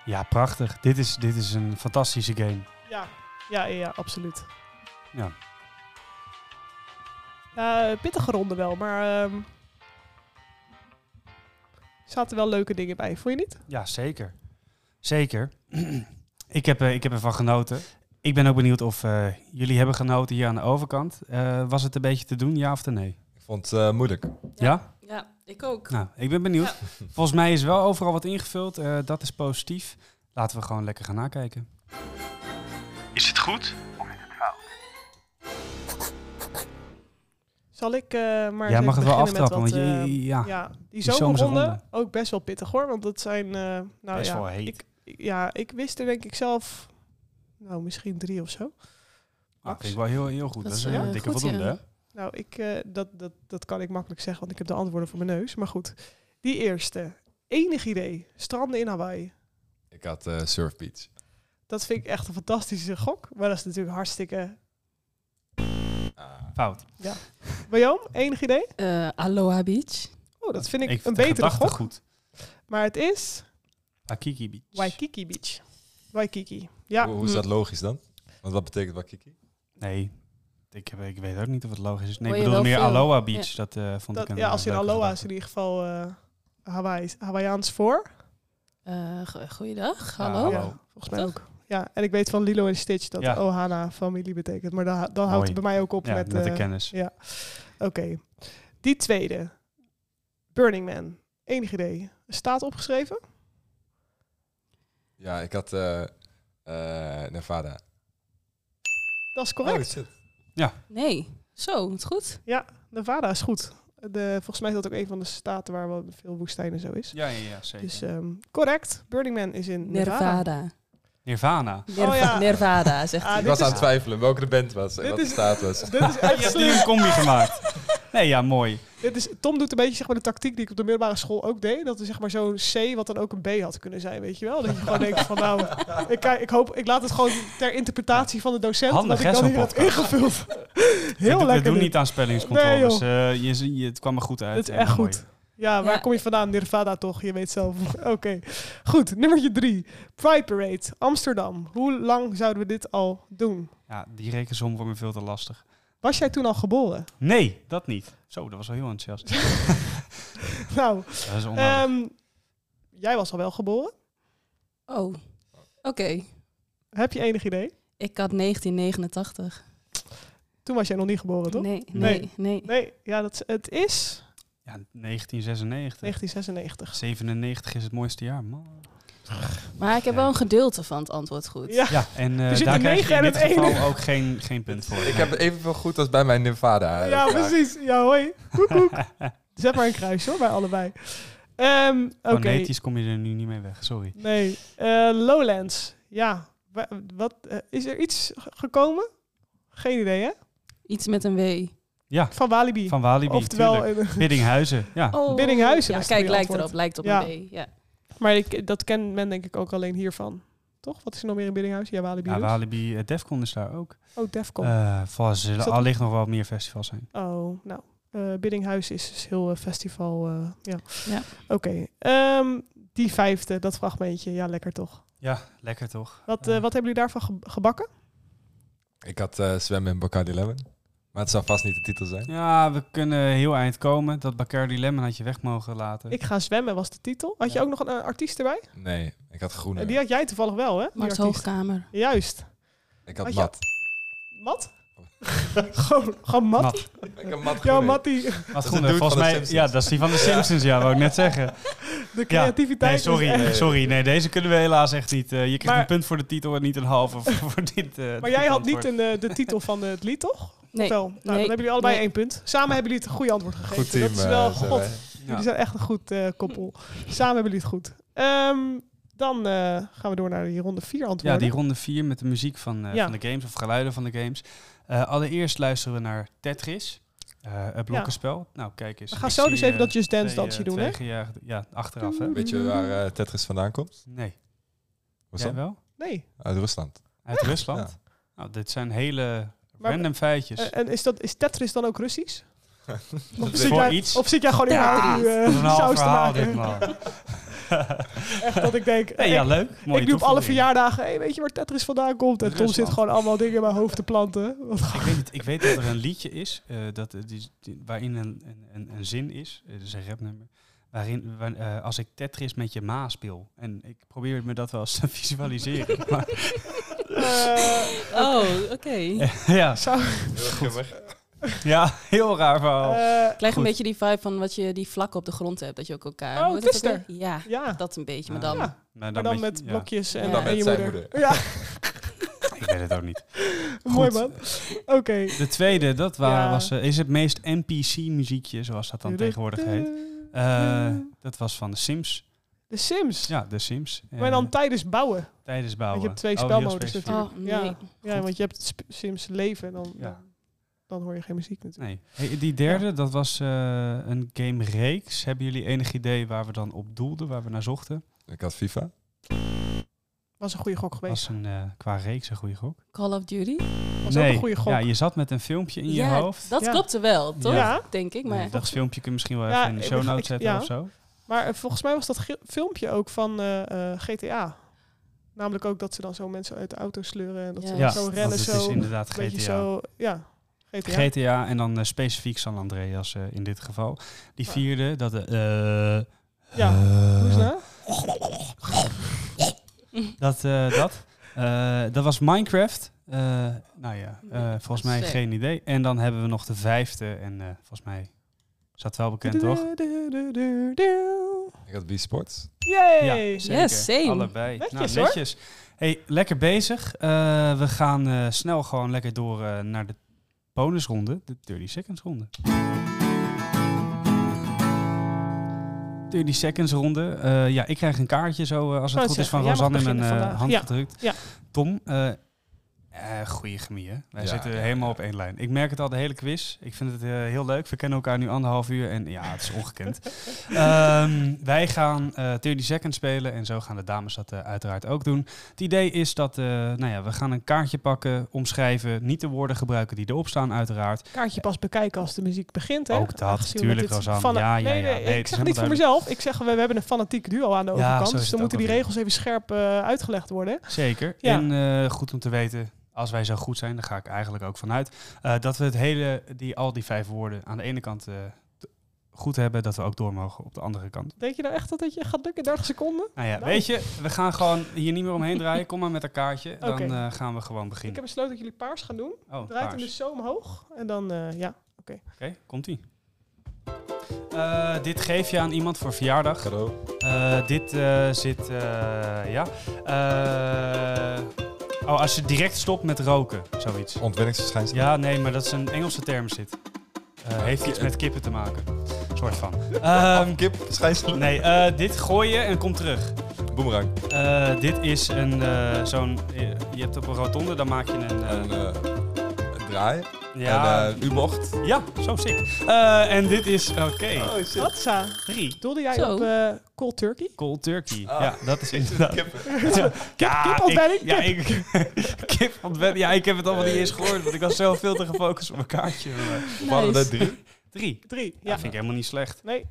[SPEAKER 1] Ja, prachtig. Dit is, dit is een fantastische game.
[SPEAKER 2] Ja. Ja, ja, ja, absoluut.
[SPEAKER 1] Ja.
[SPEAKER 2] Ja, eh, pittige ronde wel, maar ehm zaten wel leuke dingen bij, vond je niet?
[SPEAKER 1] Ja, zeker. Zeker. ik, heb, eh, ik heb ervan genoten. Ik ben ook benieuwd of eh, jullie hebben genoten hier aan de overkant. Eh, was het een beetje te doen, ja of te nee?
[SPEAKER 4] Ik vond het eh, moeilijk.
[SPEAKER 1] Ja?
[SPEAKER 3] Ja, ik ook.
[SPEAKER 1] Nou, ik ben benieuwd. Volgens mij is wel overal wat ingevuld. Eh, dat is positief. Laten we gewoon lekker gaan nakijken.
[SPEAKER 5] Is het goed?
[SPEAKER 2] Zal ik eh maar
[SPEAKER 1] Jij
[SPEAKER 2] eens
[SPEAKER 1] mag het
[SPEAKER 2] even
[SPEAKER 1] wel
[SPEAKER 2] beginnen met
[SPEAKER 1] aftrappen, want
[SPEAKER 2] wat,
[SPEAKER 1] je,
[SPEAKER 2] ehm,
[SPEAKER 1] ja.
[SPEAKER 2] ja, die
[SPEAKER 1] zomerse
[SPEAKER 2] zomerronde
[SPEAKER 1] ronde.
[SPEAKER 2] ook best wel pittig hoor, want dat zijn, eh, nou
[SPEAKER 1] Best
[SPEAKER 2] ja,
[SPEAKER 1] wel heet.
[SPEAKER 2] Ik, ja, ik wist er denk ik zelf, nou misschien drie of zo.
[SPEAKER 1] Ah, vind ik wel heel, heel goed. Dat, is een
[SPEAKER 3] eh,
[SPEAKER 1] dikke
[SPEAKER 3] goed,
[SPEAKER 1] voldoende.
[SPEAKER 3] ja.
[SPEAKER 1] hè?
[SPEAKER 2] Nou, ik, eh, dat, dat, dat kan ik makkelijk zeggen, want ik heb de antwoorden voor mijn neus. Maar goed, die eerste. Enig idee. Stranden in Hawaii.
[SPEAKER 4] Ik had eh Surf Beach.
[SPEAKER 2] Dat vind ik echt een fantastische gok. Maar dat is natuurlijk hartstikke...
[SPEAKER 4] Ah.
[SPEAKER 1] Fout.
[SPEAKER 2] William, enig idee?
[SPEAKER 3] Eh, Aloha Beach.
[SPEAKER 2] Oh, dat vind ik, een
[SPEAKER 1] vind de
[SPEAKER 2] betere
[SPEAKER 1] gedachte
[SPEAKER 2] gok.
[SPEAKER 1] goed.
[SPEAKER 2] Maar het is
[SPEAKER 1] Akiki Beach.
[SPEAKER 2] Waikiki Beach. Waikiki. Ja,
[SPEAKER 1] Oh,
[SPEAKER 4] Hoe, hoe is dat logisch dan? Want wat betekent Wakiki?
[SPEAKER 1] Nee, ik, heb, ik weet ook niet of het logisch is. Nee,
[SPEAKER 3] Hoor
[SPEAKER 1] ik
[SPEAKER 3] je
[SPEAKER 1] bedoel
[SPEAKER 3] wel
[SPEAKER 1] meer
[SPEAKER 3] veel.
[SPEAKER 1] Aloha Beach. Dat eh, vond
[SPEAKER 2] dat,
[SPEAKER 1] ik een
[SPEAKER 2] ja
[SPEAKER 1] eh,
[SPEAKER 2] als in
[SPEAKER 1] leuke
[SPEAKER 2] Aloha is
[SPEAKER 1] gedachte.
[SPEAKER 2] in ieder geval eh Hawaii, Hawaiiaans voor.
[SPEAKER 3] Eh, go- goeiedag,
[SPEAKER 1] Ja,
[SPEAKER 3] hallo.
[SPEAKER 1] Ah, hallo.
[SPEAKER 2] Ja, volgens mij ook. Ja, en ik weet van Lilo en Stitch dat
[SPEAKER 1] Ja.
[SPEAKER 2] Ohana familie betekent. Maar dan, dan houdt het bij
[SPEAKER 1] Mooi.
[SPEAKER 2] mij ook op
[SPEAKER 1] Ja,
[SPEAKER 2] met...
[SPEAKER 1] met, de
[SPEAKER 2] eh,
[SPEAKER 1] kennis.
[SPEAKER 2] Ja, oké. Die tweede. Burning Man. Enig idee. Staat opgeschreven?
[SPEAKER 4] Ja, ik had eh, eh, Nevada.
[SPEAKER 2] Dat is correct. Ah,
[SPEAKER 4] Oh, shit.
[SPEAKER 3] Nee, zo, het goed.
[SPEAKER 2] Nevada is goed. De, volgens mij is dat ook een van de staten waar wel veel woestijn en zo is.
[SPEAKER 1] Ja, ja, ja, zeker.
[SPEAKER 2] Dus ehm, correct. Burning Man is in Nevada.
[SPEAKER 3] Nirvana.
[SPEAKER 1] Nirvana.
[SPEAKER 3] Nirva-
[SPEAKER 2] Oh ja.
[SPEAKER 3] Nirvana, zegt
[SPEAKER 2] Ah,
[SPEAKER 3] hij.
[SPEAKER 4] ik
[SPEAKER 2] dit
[SPEAKER 4] was
[SPEAKER 2] is-
[SPEAKER 4] aan het twijfelen welke de band was en
[SPEAKER 2] Dit
[SPEAKER 4] wat de
[SPEAKER 2] is-
[SPEAKER 4] staat was.
[SPEAKER 2] Dit is, echt
[SPEAKER 1] Je hebt
[SPEAKER 2] slim.
[SPEAKER 1] nu een combi gemaakt. Nee, ja, mooi.
[SPEAKER 2] dit is, Tom doet een beetje zeg maar, de tactiek die ik op de middelbare school ook deed. Dat is zeg maar zo'n C wat dan ook een B had kunnen zijn, weet je wel. Dat je gewoon denkt van nou, ik, kijk- ik, hoop, ik laat het gewoon ter interpretatie van de docent.
[SPEAKER 1] Handig,
[SPEAKER 2] dat
[SPEAKER 1] hè,
[SPEAKER 2] ik dan
[SPEAKER 1] zo'n
[SPEAKER 2] hier had ingevuld.
[SPEAKER 1] we,
[SPEAKER 2] Heel
[SPEAKER 1] do-
[SPEAKER 2] lekker
[SPEAKER 1] We doen
[SPEAKER 2] dit.
[SPEAKER 1] niet aan spellingscontroles.
[SPEAKER 2] Nee,
[SPEAKER 1] Eh, je, zie- je- het kwam er goed uit.
[SPEAKER 2] Dit is
[SPEAKER 1] en
[SPEAKER 2] echt
[SPEAKER 1] mooi.
[SPEAKER 2] goed. Ja, waar
[SPEAKER 3] Ja.
[SPEAKER 2] kom je vandaan? Nirvana toch? Je weet zelf. Oké. Goed, nummertje drie. Pride Parade, Amsterdam. Hoe lang zouden we dit al doen?
[SPEAKER 1] Ja, die rekensom wordt me veel te lastig.
[SPEAKER 2] Was jij toen al geboren?
[SPEAKER 1] Nee, dat niet. Zo, dat was wel heel enthousiast.
[SPEAKER 2] Nou,
[SPEAKER 1] dat is onnodig.
[SPEAKER 2] ehm, jij was al wel geboren.
[SPEAKER 3] Oh, oké.
[SPEAKER 2] Heb je enig idee?
[SPEAKER 3] Ik had 1989.
[SPEAKER 2] Toen was jij nog niet geboren, Oh, toch?
[SPEAKER 3] Nee,
[SPEAKER 2] Nee.
[SPEAKER 3] nee, nee.
[SPEAKER 2] Nee, ja, dat, is- het is
[SPEAKER 1] ja, 1996.
[SPEAKER 2] 1996.
[SPEAKER 1] 97 is het mooiste jaar, man.
[SPEAKER 3] Maar ik heb wel een gedeelte van het antwoord goed.
[SPEAKER 2] Ja,
[SPEAKER 1] Ja, en eh,
[SPEAKER 2] Er zit
[SPEAKER 1] daar
[SPEAKER 2] een
[SPEAKER 1] krijg je
[SPEAKER 2] Ah, negen
[SPEAKER 1] in
[SPEAKER 2] en
[SPEAKER 1] dit
[SPEAKER 2] een
[SPEAKER 1] geval
[SPEAKER 2] één.
[SPEAKER 1] ook geen, geen punt voor.
[SPEAKER 4] Ik heb evenveel goed als bij mijn Nevada. eh,
[SPEAKER 2] ja
[SPEAKER 4] vraag.
[SPEAKER 2] precies. Ja, hoi. Koek, koek. Zet maar een kruis hoor, bij allebei. Ehm Oké.
[SPEAKER 1] Fonetisch kom je er nu niet mee weg, sorry.
[SPEAKER 2] Nee, eh, Lowlands. Ja, wa- wat, eh, is er iets ge- gekomen? Geen idee, hè?
[SPEAKER 3] Iets met een W.
[SPEAKER 1] Ja,
[SPEAKER 2] Van Walibi.
[SPEAKER 1] van Walibi,
[SPEAKER 2] Oftewel,
[SPEAKER 1] tuurlijk.
[SPEAKER 2] eh,
[SPEAKER 1] Biddinghuizen, ja.
[SPEAKER 3] Oh.
[SPEAKER 2] Biddinghuizen,
[SPEAKER 3] Ja,
[SPEAKER 2] dat is het
[SPEAKER 3] kijk,
[SPEAKER 2] goede
[SPEAKER 3] lijkt
[SPEAKER 2] antwoord.
[SPEAKER 3] erop. Lijkt op
[SPEAKER 2] Ja.
[SPEAKER 3] een W. Ja.
[SPEAKER 2] eh, maar ik, dat kent men denk ik ook alleen hiervan. Toch? Wat is er nog meer in Biddinghuis? Ja, Walibi.
[SPEAKER 1] ja
[SPEAKER 2] dus.
[SPEAKER 1] Walibi, eh, Defcon is daar ook.
[SPEAKER 2] Oh, Defcon.
[SPEAKER 1] Eh volgens
[SPEAKER 2] Is
[SPEAKER 1] zullen
[SPEAKER 2] dat-
[SPEAKER 1] allicht nog wel meer festivals zijn.
[SPEAKER 2] oh, nou. eh Biddinghuis is dus heel eh, festival. eh, ja.
[SPEAKER 3] Ja.
[SPEAKER 2] Oké. ehm, die vijfde, dat fragmentje. Ja, lekker toch?
[SPEAKER 1] Ja, lekker toch?
[SPEAKER 2] Wat, eh,
[SPEAKER 1] Eh.
[SPEAKER 2] wat hebben jullie daarvan ge- gebakken?
[SPEAKER 4] Ik had eh, zwemmen in Bacardi Lemon. Maar het zou vast niet de titel zijn.
[SPEAKER 1] Ja, we kunnen heel eind komen. Dat Bacardi Lemon had je weg mogen laten.
[SPEAKER 2] Ik ga zwemmen was de titel. Had je
[SPEAKER 1] Ja.
[SPEAKER 2] ook nog een eh, artiest erbij?
[SPEAKER 4] Nee, ik had groene.
[SPEAKER 2] Eh, Die had jij toevallig wel, hè? Die
[SPEAKER 3] Mars
[SPEAKER 2] artiest.
[SPEAKER 3] Hoogkamer.
[SPEAKER 2] Juist.
[SPEAKER 4] ik had
[SPEAKER 2] had je-
[SPEAKER 4] mat.
[SPEAKER 2] Mat? gewoon, gewoon mat?
[SPEAKER 1] Mat.
[SPEAKER 4] Ik had mat
[SPEAKER 2] Ja,
[SPEAKER 4] groene.
[SPEAKER 2] mat die...
[SPEAKER 1] Wat eh,
[SPEAKER 4] is de dude
[SPEAKER 1] volgens
[SPEAKER 4] van de
[SPEAKER 1] mij.
[SPEAKER 4] Simpsons.
[SPEAKER 1] Ja, dat is die van de Simpsons, ja, wou ik net zeggen.
[SPEAKER 2] De
[SPEAKER 1] Ja.
[SPEAKER 2] creativiteit
[SPEAKER 1] Nee,
[SPEAKER 2] is
[SPEAKER 1] sorry. eh,
[SPEAKER 2] echt-
[SPEAKER 1] Nee, sorry. Nee, deze kunnen we helaas echt niet. Eh, je krijgt
[SPEAKER 2] Maar-
[SPEAKER 1] een punt voor de titel en niet een halve voor, voor dit. eh,
[SPEAKER 2] Maar
[SPEAKER 1] dit
[SPEAKER 2] jij had
[SPEAKER 1] antwoord.
[SPEAKER 2] niet een, eh, de titel van eh, het lied, toch?
[SPEAKER 3] Nee.
[SPEAKER 2] Of wel? Nou, dan
[SPEAKER 3] Nee.
[SPEAKER 2] hebben jullie allebei
[SPEAKER 3] Nee.
[SPEAKER 2] één punt. Samen hebben jullie het goede antwoord gegeven.
[SPEAKER 4] Goed team.
[SPEAKER 2] Dat is wel...
[SPEAKER 4] eh, zijn
[SPEAKER 2] God,
[SPEAKER 4] wij.
[SPEAKER 2] jullie zijn echt een goed eh, koppel. Samen hebben jullie het goed. Ehm, dan eh, gaan we door naar die ronde vier
[SPEAKER 1] Ja,
[SPEAKER 2] antwoorden.
[SPEAKER 1] die ronde 4 met de muziek van, eh,
[SPEAKER 2] Ja.
[SPEAKER 1] van de games of geluiden van de games. Eh, allereerst luisteren we naar Tetris, eh een blokkenspel. Nou, kijk eens.
[SPEAKER 2] we gaan zo dus even dat Just Dance
[SPEAKER 1] eh,
[SPEAKER 2] dansje doen, hè?
[SPEAKER 1] Ja, ja, achteraf, hè?
[SPEAKER 4] Weet je waar eh, Tetris vandaan komt?
[SPEAKER 1] Nee.
[SPEAKER 4] Was
[SPEAKER 1] Jij Mhm. wel?
[SPEAKER 2] Nee.
[SPEAKER 4] Uit Rusland.
[SPEAKER 1] Uit Rusland? Nou, dit zijn hele
[SPEAKER 2] Maar-
[SPEAKER 1] random feitjes.
[SPEAKER 2] Eh, en is, dat, is Tetris dan ook Russisch?
[SPEAKER 4] Dat
[SPEAKER 2] Of
[SPEAKER 4] weet
[SPEAKER 2] zit,
[SPEAKER 1] voor
[SPEAKER 4] ik.
[SPEAKER 2] jij,
[SPEAKER 1] iets.
[SPEAKER 2] of zit jij gewoon in haar
[SPEAKER 3] Tetris.
[SPEAKER 1] Dat is een half
[SPEAKER 2] eh, saus te
[SPEAKER 1] verhaal
[SPEAKER 2] maken?
[SPEAKER 1] dit, man.
[SPEAKER 2] Echt dat ik denk... eh,
[SPEAKER 1] Nee, ja,
[SPEAKER 2] ik-
[SPEAKER 1] leuk. Mooie
[SPEAKER 2] ik doe op alle
[SPEAKER 1] toevoeging.
[SPEAKER 2] verjaardagen, hey, weet je waar Tetris vandaan komt? En Tom
[SPEAKER 1] Rusland.
[SPEAKER 2] zit gewoon allemaal dingen in mijn hoofd te planten. Wat
[SPEAKER 1] Ik weet, het, ik weet dat er een liedje is eh, dat, eh, die, die- waarin een, een, een, een zin is, eh, dat is een rapnummer, waarin waar- eh, als ik Tetris met je ma speel. En ik probeer me dat wel eens te visualiseren. maar,
[SPEAKER 2] Eh,
[SPEAKER 3] Oh, oké.
[SPEAKER 1] ja,
[SPEAKER 2] zou-
[SPEAKER 1] ja, heel raar verhaal.
[SPEAKER 2] eh,
[SPEAKER 3] Krijg een
[SPEAKER 1] Goed.
[SPEAKER 3] beetje die vibe van wat je die vlakken op de grond hebt. Dat je ook elkaar...
[SPEAKER 2] Oh,
[SPEAKER 3] hoe heet dat ook
[SPEAKER 2] twister.
[SPEAKER 3] weer? Ja,
[SPEAKER 2] ja,
[SPEAKER 3] dat een beetje. Maar dan...
[SPEAKER 1] Ah, maar
[SPEAKER 2] maar dan met
[SPEAKER 1] ja,
[SPEAKER 2] blokjes en,
[SPEAKER 3] En dan
[SPEAKER 2] en
[SPEAKER 4] met
[SPEAKER 2] je
[SPEAKER 4] zijn
[SPEAKER 2] moeder.
[SPEAKER 4] moeder.
[SPEAKER 2] Ja,
[SPEAKER 1] Ik weet het ook niet.
[SPEAKER 2] mooi
[SPEAKER 1] Goed.
[SPEAKER 2] man. Oké.
[SPEAKER 1] De tweede, dat wa-
[SPEAKER 2] Ja.
[SPEAKER 1] was, eh, is het meest NPC-muziekje, zoals dat dan tegenwoordig heet. Eh, dat was van de Sims.
[SPEAKER 2] De Sims.
[SPEAKER 1] Ja, de Sims. Eh,
[SPEAKER 2] Maar dan tijdens bouwen.
[SPEAKER 1] tijdens bouwen.
[SPEAKER 2] Want je hebt twee
[SPEAKER 1] Oh, heel
[SPEAKER 2] spelmodus
[SPEAKER 1] specifiek.
[SPEAKER 2] natuurlijk.
[SPEAKER 3] Oh, nee.
[SPEAKER 2] Ja. Ja,
[SPEAKER 1] Goed.
[SPEAKER 2] want je hebt sp- Sims leven en dan,
[SPEAKER 1] Ja.
[SPEAKER 2] dan, dan hoor je geen muziek natuurlijk.
[SPEAKER 1] Nee. Hey, die derde, dat was eh, een game reeks. Hebben jullie enig idee waar we dan op doelden, waar we naar zochten?
[SPEAKER 4] Ik had FIFA.
[SPEAKER 2] Was een goede gok geweest.
[SPEAKER 1] Was een, eh, qua reeks een goede gok?
[SPEAKER 3] Call of Duty?
[SPEAKER 2] Was ook
[SPEAKER 1] nee.
[SPEAKER 2] een goede gok.
[SPEAKER 1] Ja, je zat met een filmpje in je
[SPEAKER 3] ja,
[SPEAKER 1] hoofd.
[SPEAKER 3] dat
[SPEAKER 2] Ja.
[SPEAKER 3] klopte wel, toch?
[SPEAKER 2] Ja.
[SPEAKER 3] Denk ik.
[SPEAKER 1] Nee,
[SPEAKER 3] Maar
[SPEAKER 1] dat filmpje kun je misschien wel
[SPEAKER 2] Ja,
[SPEAKER 1] even in de
[SPEAKER 2] ik
[SPEAKER 1] show
[SPEAKER 2] beg-
[SPEAKER 1] notes
[SPEAKER 2] ik-
[SPEAKER 1] zetten
[SPEAKER 2] ja.
[SPEAKER 1] of zo.
[SPEAKER 2] Maar eh, volgens mij was dat ge- filmpje ook van eh, eh, GTA. Namelijk ook dat ze dan zo mensen uit de auto sleuren en dat ze
[SPEAKER 3] Ja.
[SPEAKER 2] dan
[SPEAKER 1] Ja,
[SPEAKER 2] zo
[SPEAKER 1] want
[SPEAKER 2] rennen.
[SPEAKER 1] het
[SPEAKER 2] Zo,
[SPEAKER 1] is dus inderdaad
[SPEAKER 2] een beetje
[SPEAKER 1] GTA.
[SPEAKER 2] zo. Ja, GTA.
[SPEAKER 1] GTA en dan eh, specifiek San Andreas eh, in dit geval. Die vierde, dat... eh eh,
[SPEAKER 2] Ja, Doe eens na.
[SPEAKER 1] Dat, eh, dat. Eh, dat was Minecraft. Eh, nou ja, eh, volgens mij
[SPEAKER 3] Sick.
[SPEAKER 1] geen idee. En dan hebben we nog de vijfde. En eh, volgens mij is dat wel bekend, toch?
[SPEAKER 4] Ik had Wii Sports.
[SPEAKER 2] Yay!
[SPEAKER 3] Yes, same.
[SPEAKER 1] Allebei.
[SPEAKER 2] Netjes,
[SPEAKER 1] nou,
[SPEAKER 2] hoor.
[SPEAKER 1] netjes. Hey, lekker bezig. Eh, we gaan eh, snel gewoon lekker door eh, naar de bonusronde. De 30 seconds ronde. 30 seconds ronde. Eh, ja, ik krijg een kaartje zo, eh, als het
[SPEAKER 2] Wou
[SPEAKER 1] goed is, van
[SPEAKER 2] zeggen, Oh, jij mag
[SPEAKER 1] Rosanne in mijn
[SPEAKER 2] beginnen
[SPEAKER 1] eh,
[SPEAKER 2] vandaag.
[SPEAKER 1] hand
[SPEAKER 2] Ja,
[SPEAKER 1] gedrukt.
[SPEAKER 2] ja.
[SPEAKER 1] Tom, eh eh, goeie chemie, hè? Wij
[SPEAKER 4] Ja,
[SPEAKER 1] zitten
[SPEAKER 4] ja,
[SPEAKER 1] helemaal
[SPEAKER 4] ja.
[SPEAKER 1] op één lijn. Ik merk het al de hele quiz. Ik vind het eh, heel leuk. We kennen elkaar nu anderhalf uur en ja, het is ongekend. Ehm, wij gaan eh 30 Seconds spelen en zo gaan de dames dat eh, uiteraard ook doen. Het idee is dat eh, nou ja, we gaan een kaartje pakken, omschrijven, niet de woorden gebruiken die erop staan uiteraard.
[SPEAKER 2] Kaartje pas bekijken als de muziek begint. Hè?
[SPEAKER 1] Ook dat,
[SPEAKER 2] Aangezien we
[SPEAKER 1] tuurlijk,
[SPEAKER 2] dit
[SPEAKER 1] Rosanne.
[SPEAKER 2] fana-
[SPEAKER 1] Ja, ja,
[SPEAKER 2] nee,
[SPEAKER 1] ja.
[SPEAKER 2] nee,
[SPEAKER 1] Nee, het
[SPEAKER 2] ik
[SPEAKER 1] is
[SPEAKER 2] zeg het niet voor
[SPEAKER 1] helemaal
[SPEAKER 2] mezelf. Ik zeg, we, we hebben een fanatiek duo aan de
[SPEAKER 1] Ja,
[SPEAKER 2] overkant.
[SPEAKER 1] zo is
[SPEAKER 2] Dus
[SPEAKER 1] het
[SPEAKER 2] dan moeten
[SPEAKER 1] ook
[SPEAKER 2] die
[SPEAKER 1] alweer.
[SPEAKER 2] regels even scherp eh, uitgelegd worden.
[SPEAKER 1] Zeker.
[SPEAKER 2] Ja.
[SPEAKER 1] En eh, goed om te weten, als wij zo goed zijn, daar ga ik eigenlijk ook vanuit, eh, dat we het hele, die, al die vijf woorden aan de ene kant eh, t- goed hebben, dat we ook door mogen op de andere kant.
[SPEAKER 2] Denk je nou echt dat het je gaat lukken in 30 seconden?
[SPEAKER 1] Nou ja,
[SPEAKER 2] Nou.
[SPEAKER 1] weet je, we gaan gewoon hier niet meer omheen draaien. Kom maar met een kaartje, dan
[SPEAKER 2] Oké.
[SPEAKER 1] eh, gaan we gewoon
[SPEAKER 2] Ik
[SPEAKER 1] beginnen.
[SPEAKER 2] heb besloten dat jullie paars gaan doen.
[SPEAKER 1] Oh,
[SPEAKER 2] Draait hem
[SPEAKER 1] paars.
[SPEAKER 2] dus zo omhoog. En dan, eh, ja.
[SPEAKER 1] Oké, komt ie. dit geef je aan iemand voor verjaardag.
[SPEAKER 4] Cadeau.
[SPEAKER 1] Eh, dit eh, zit, eh, ja. Eh, oh, als je direct stopt met roken, zoiets.
[SPEAKER 4] Ontwenningsverschijnsel.
[SPEAKER 1] Ja, nee, maar dat is een Engelse term zit. Eh, heeft iets met kippen te maken. Soort van. Ehm,
[SPEAKER 4] Kip, schijnsel.
[SPEAKER 1] nee, eh, dit gooi je en komt terug.
[SPEAKER 4] Boemerang.
[SPEAKER 1] Eh, dit is een eh, zo'n. eh, Je hebt op een rotonde, dan maak je een. eh,
[SPEAKER 4] En eh, een draai.
[SPEAKER 1] ja,
[SPEAKER 4] En eh, u mocht.
[SPEAKER 1] ja, zo sick. Eh, en dit is. Oké,
[SPEAKER 2] Hatsa.
[SPEAKER 1] drie.
[SPEAKER 2] Doelde jij
[SPEAKER 3] Zo.
[SPEAKER 2] op eh cold turkey?
[SPEAKER 1] Cold turkey.
[SPEAKER 4] Ah.
[SPEAKER 1] Ja, dat is inderdaad.
[SPEAKER 2] Kip- kip
[SPEAKER 1] ik,
[SPEAKER 2] ontbijt,
[SPEAKER 1] ja, ik, kip ontbijt. Ja, ik heb het allemaal niet eens gehoord, want ik was zelf veel te gefocust op mijn kaartje. Maar
[SPEAKER 4] We hadden er drie.
[SPEAKER 1] Drie.
[SPEAKER 2] Drie.
[SPEAKER 1] Ja,
[SPEAKER 2] Ja.
[SPEAKER 1] vind ik helemaal niet slecht.
[SPEAKER 2] Nee.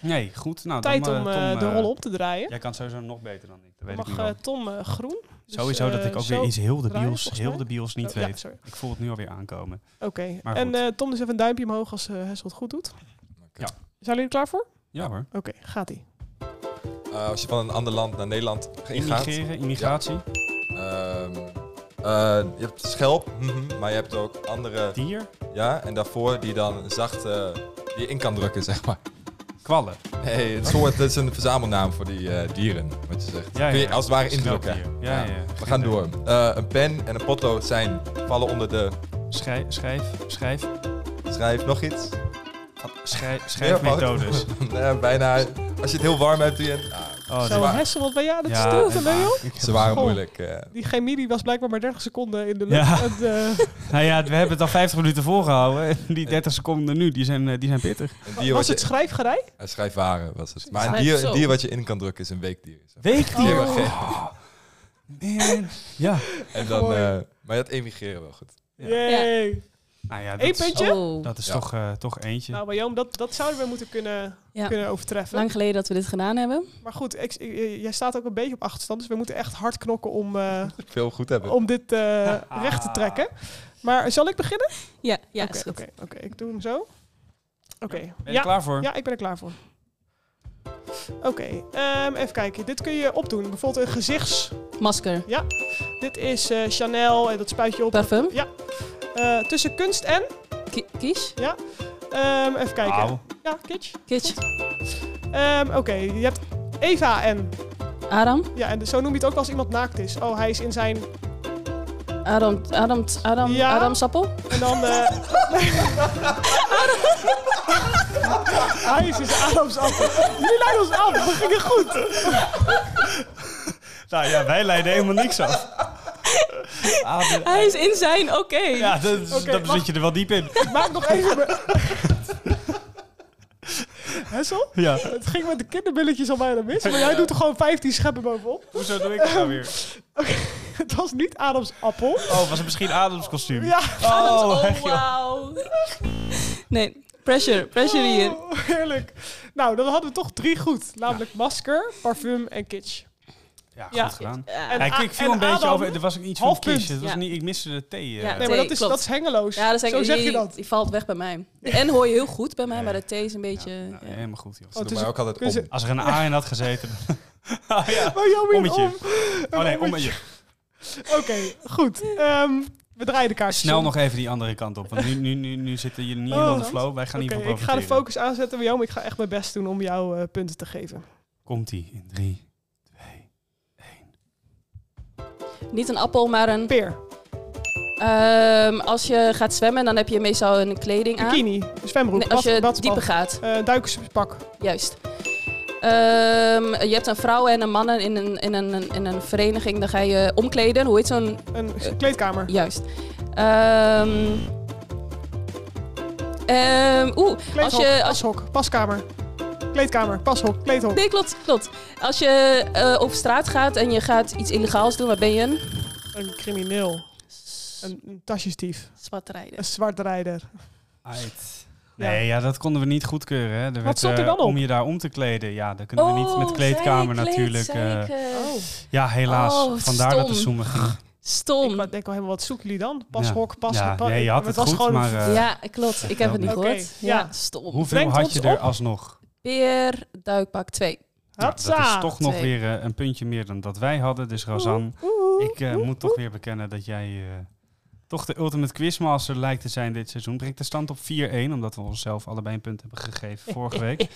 [SPEAKER 1] Nee, goed. Nou,
[SPEAKER 2] Tijd
[SPEAKER 1] dan,
[SPEAKER 2] om
[SPEAKER 1] eh,
[SPEAKER 2] eh,
[SPEAKER 1] Tom,
[SPEAKER 2] de
[SPEAKER 1] eh,
[SPEAKER 2] rol op te draaien.
[SPEAKER 1] Jij kan het sowieso nog beter dan ik. Dat weet
[SPEAKER 2] mag
[SPEAKER 1] ik nu wel.
[SPEAKER 2] eh, Tom eh, groen. Dus,
[SPEAKER 1] sowieso dat
[SPEAKER 2] eh,
[SPEAKER 1] ik ook
[SPEAKER 2] zo-
[SPEAKER 1] weer iets heel de
[SPEAKER 2] draaien,
[SPEAKER 1] bios,
[SPEAKER 2] volgens
[SPEAKER 1] heel
[SPEAKER 2] mij.
[SPEAKER 1] de bios niet
[SPEAKER 2] Oh, ja,
[SPEAKER 1] weet.
[SPEAKER 2] sorry.
[SPEAKER 1] ik voel het nu alweer aankomen.
[SPEAKER 2] Oké.
[SPEAKER 1] Maar
[SPEAKER 2] En
[SPEAKER 1] goed.
[SPEAKER 2] eh, Tom, dus even een duimpje omhoog als eh Hessel het goed doet.
[SPEAKER 4] Oké.
[SPEAKER 1] Ja.
[SPEAKER 2] Zijn jullie er klaar voor?
[SPEAKER 1] Ja hoor.
[SPEAKER 2] Oké, gaat
[SPEAKER 1] Oh,
[SPEAKER 2] ie.
[SPEAKER 4] Eh, als je van een ander land naar Nederland ingaat,
[SPEAKER 1] Immigreren, immigratie,
[SPEAKER 4] ehm, eh, je hebt schelp, mhm, maar je hebt ook andere,
[SPEAKER 1] dier,
[SPEAKER 4] ja, en daarvoor die dan zacht eh, die je in kan drukken, zeg maar.
[SPEAKER 1] kwallen.
[SPEAKER 4] Nee, het soort, dat is een verzamelnaam voor die eh, dieren, wat je zegt.
[SPEAKER 1] Ja, ja.
[SPEAKER 4] Kun je als het ware indrukken.
[SPEAKER 1] Schelpdier. Ja, ja.
[SPEAKER 4] We gaan door. Eh, een pen en een potlood zijn, vallen onder de
[SPEAKER 1] Schrijf, schrijf, schrijf,
[SPEAKER 4] schrijf, nog iets.
[SPEAKER 1] schrijf,
[SPEAKER 4] fout.
[SPEAKER 1] schrijfmethodes.
[SPEAKER 4] Eh, bijna, als je het heel warm hebt, doe je het. Ah,
[SPEAKER 1] Oh,
[SPEAKER 2] Zo,
[SPEAKER 4] waar.
[SPEAKER 2] Hessel, wat ben jij aan het
[SPEAKER 1] Ja,
[SPEAKER 2] stoten,
[SPEAKER 1] en-
[SPEAKER 2] ben je?
[SPEAKER 4] ze waren
[SPEAKER 2] Goh.
[SPEAKER 4] moeilijk. eh.
[SPEAKER 2] Die chemie die was blijkbaar maar 30 seconden in de lucht.
[SPEAKER 1] Ja.
[SPEAKER 2] En, eh,
[SPEAKER 1] Nou ja, we hebben het al 50 minuten volgehouden. Die 30 seconden nu, die zijn, eh, die zijn pittig.
[SPEAKER 4] een dier wat
[SPEAKER 2] was
[SPEAKER 4] je,
[SPEAKER 2] het schrijfgerei?
[SPEAKER 4] eh, schrijfwaren was het. Maar een
[SPEAKER 3] Schrijf
[SPEAKER 4] dier,
[SPEAKER 3] zo.
[SPEAKER 4] een dier wat je in kan drukken is een weekdier. zeg maar.
[SPEAKER 1] Weekdier.
[SPEAKER 4] Oh.
[SPEAKER 1] Man. Ja.
[SPEAKER 4] En dan,
[SPEAKER 2] Mooi.
[SPEAKER 4] eh, maar dat emigreren wel goed.
[SPEAKER 1] Ja.
[SPEAKER 2] Yay.
[SPEAKER 1] Nou ja,
[SPEAKER 2] Eén
[SPEAKER 1] dat is,
[SPEAKER 2] puntje?
[SPEAKER 3] Oh,
[SPEAKER 1] dat is
[SPEAKER 4] Ja.
[SPEAKER 1] toch, eh, toch eentje.
[SPEAKER 2] Nou, maar Joom, dat, dat zouden we moeten kunnen,
[SPEAKER 3] Ja.
[SPEAKER 2] kunnen overtreffen.
[SPEAKER 3] lang geleden dat we dit gedaan hebben.
[SPEAKER 2] Maar goed, ik- eh, jij staat ook een beetje op achterstand. Dus we moeten echt hard knokken om, eh,
[SPEAKER 4] Veel goed hebben.
[SPEAKER 2] om dit eh, recht te trekken. Maar zal ik beginnen?
[SPEAKER 3] Ja, ja
[SPEAKER 2] Oké,
[SPEAKER 3] is goed.
[SPEAKER 2] Oké, oké, ik doe hem zo. Oké.
[SPEAKER 1] Ben je
[SPEAKER 2] Ja,
[SPEAKER 1] er klaar voor?
[SPEAKER 2] ja, ik ben er klaar voor. Oké, ehm, even kijken. Dit kun je opdoen. Bijvoorbeeld een gezichts...
[SPEAKER 3] Masker,
[SPEAKER 2] Dit is eh, Chanel en dat spuit je op.
[SPEAKER 3] parfum,
[SPEAKER 2] Eh, tussen kunst en...
[SPEAKER 3] ki kies,
[SPEAKER 2] ehm, even kijken.
[SPEAKER 1] Wauw.
[SPEAKER 2] Ja, kitsch.
[SPEAKER 3] kitsch,
[SPEAKER 2] Ehm, Oké, je hebt Eva en...
[SPEAKER 3] Aram,
[SPEAKER 2] Ja, en zo noem je het ook als iemand naakt is. Oh, hij is in zijn...
[SPEAKER 3] Aram, Aram, Aram,
[SPEAKER 2] Ja.
[SPEAKER 3] Aram Sappel,
[SPEAKER 2] En dan... eh, hij is dus in zijn Adams appel. Jullie leiden ons af. We gingen goed.
[SPEAKER 1] Nou ja, wij leiden helemaal niks af. Ah, de-
[SPEAKER 3] Hij is in zijn, oké.
[SPEAKER 1] Ja, dat, is-
[SPEAKER 2] Oké,
[SPEAKER 1] dat
[SPEAKER 2] wacht.
[SPEAKER 1] zit je er wel diep in.
[SPEAKER 2] Ik maak nog even... mijn- Hessel?
[SPEAKER 1] Ja.
[SPEAKER 2] Het ging met de kinderbilletjes al bijna mis. Maar jij doet er gewoon 15 scheppen bovenop.
[SPEAKER 1] Hoezo doe ik dat nou weer?
[SPEAKER 2] Het was niet Adams appel.
[SPEAKER 1] Oh, was het misschien Adams kostuum?
[SPEAKER 2] Ja.
[SPEAKER 1] Oh,
[SPEAKER 3] Oh,
[SPEAKER 1] echt, joh.
[SPEAKER 3] wauw. Nee, pressure, pressure hier.
[SPEAKER 2] Oh, heerlijk. Nou, dan hadden we toch drie goed. Namelijk masker, parfum en kitsch.
[SPEAKER 1] ja,
[SPEAKER 2] Ja.
[SPEAKER 1] goed gedaan.
[SPEAKER 3] Ja.
[SPEAKER 2] En-
[SPEAKER 1] Ja, ik, ik viel
[SPEAKER 2] en
[SPEAKER 1] een beetje
[SPEAKER 2] Adam-
[SPEAKER 1] over. Er was ook iets van
[SPEAKER 2] Half punt.
[SPEAKER 1] kies. Het was
[SPEAKER 3] Ja.
[SPEAKER 1] niet, ik miste de thee. eh.
[SPEAKER 3] Ja,
[SPEAKER 2] Nee,
[SPEAKER 3] nee,
[SPEAKER 2] maar
[SPEAKER 3] Thee,
[SPEAKER 2] dat is,
[SPEAKER 3] klopt.
[SPEAKER 2] dat is hengeloos.
[SPEAKER 3] Ja, dat is
[SPEAKER 2] Zo
[SPEAKER 3] eigenlijk-
[SPEAKER 2] zeg je
[SPEAKER 3] die-
[SPEAKER 2] dat.
[SPEAKER 3] Die valt weg bij mij. De N hoor je heel goed bij mij, maar de T is een beetje...
[SPEAKER 1] Ja, nou,
[SPEAKER 3] ja.
[SPEAKER 1] helemaal goed, joh.
[SPEAKER 4] Ze
[SPEAKER 2] het
[SPEAKER 4] doen
[SPEAKER 2] is
[SPEAKER 4] mij ook
[SPEAKER 2] kun
[SPEAKER 4] altijd
[SPEAKER 2] je
[SPEAKER 4] om.
[SPEAKER 1] Als er een A in had gezeten. oh, ja.
[SPEAKER 2] Maar jammer om.
[SPEAKER 1] Ommetje. Oh nee, om
[SPEAKER 2] Oké, goed. Ehm, we draaien de kaart.
[SPEAKER 1] Snel nog even die andere kant op. Want nu, nu, nu, nu zitten jullie niet
[SPEAKER 2] Oh,
[SPEAKER 1] helemaal in de
[SPEAKER 2] dat-
[SPEAKER 1] flow. Wij gaan
[SPEAKER 2] Oké,
[SPEAKER 1] niet van
[SPEAKER 2] ik ga de
[SPEAKER 1] profiteren.
[SPEAKER 2] focus aanzetten. Jom, ik ga echt mijn best doen om jou eh, punten te geven.
[SPEAKER 1] Komt-ie in drie.
[SPEAKER 3] Niet een appel, maar een...
[SPEAKER 2] Peer,
[SPEAKER 3] Ehm, als je gaat zwemmen, dan heb je meestal een kleding aan.
[SPEAKER 2] bikini, zwembroek,
[SPEAKER 3] Nee, als je
[SPEAKER 2] bad-
[SPEAKER 3] dieper
[SPEAKER 2] badpak,
[SPEAKER 3] gaat,
[SPEAKER 2] eh, duikerspak.
[SPEAKER 3] juist. Ehm, je hebt een vrouw en een mannen in een, in, een, in een vereniging, dan ga je omkleden. Hoe heet zo'n...
[SPEAKER 2] Een s- kleedkamer.
[SPEAKER 3] Juist. Ehm, ehm, Oeh, als
[SPEAKER 2] Kleedhok,
[SPEAKER 3] je... Als,
[SPEAKER 2] pashok, paskamer. Kleedkamer, pashok, kleedhok.
[SPEAKER 3] nee, klopt, klopt. Als je eh, op straat gaat en je gaat iets illegaals doen, wat ben je? Een
[SPEAKER 2] Een crimineel. Een, een tasjesdief.
[SPEAKER 3] zwart rijden.
[SPEAKER 2] Een zwartrijder.
[SPEAKER 1] Uit. Nee, ja, dat konden we niet goedkeuren. Hè. Er werd,
[SPEAKER 2] stond er
[SPEAKER 1] eh,
[SPEAKER 2] dan op?
[SPEAKER 1] Om je daar om te kleden. Ja, dat kunnen we
[SPEAKER 3] Oh,
[SPEAKER 1] niet met kleedkamer natuurlijk. eh,
[SPEAKER 2] Oh.
[SPEAKER 1] ja, helaas.
[SPEAKER 3] Oh,
[SPEAKER 1] Vandaar dat de
[SPEAKER 3] stom.
[SPEAKER 1] zoemen ging.
[SPEAKER 2] Ik
[SPEAKER 3] Stom.
[SPEAKER 2] wa- denk al helemaal, wat zoeken jullie dan? Pashok, pas.
[SPEAKER 1] ja,
[SPEAKER 2] pa-
[SPEAKER 1] nee, je had het
[SPEAKER 2] was
[SPEAKER 1] goed,
[SPEAKER 2] gewoon
[SPEAKER 1] maar eh,
[SPEAKER 3] ja, klopt. Ik heb het niet
[SPEAKER 2] Oké,
[SPEAKER 3] gehoord.
[SPEAKER 2] ja.
[SPEAKER 3] Ja, stom.
[SPEAKER 1] hoeveel
[SPEAKER 2] brengt
[SPEAKER 1] had
[SPEAKER 2] ons
[SPEAKER 1] je er
[SPEAKER 2] op?
[SPEAKER 1] alsnog?
[SPEAKER 3] Peer, duikpak 2.
[SPEAKER 1] Nou, dat is
[SPEAKER 2] Hatsa.
[SPEAKER 1] toch nog
[SPEAKER 3] Twee.
[SPEAKER 1] weer eh, een puntje meer dan dat wij hadden. Dus Razan, ik eh, moet toch weer bekennen dat jij eh, toch de ultimate quizmaster lijkt te zijn dit seizoen. Brengt de stand op 4-1, omdat we onszelf allebei een punt hebben gegeven vorige week.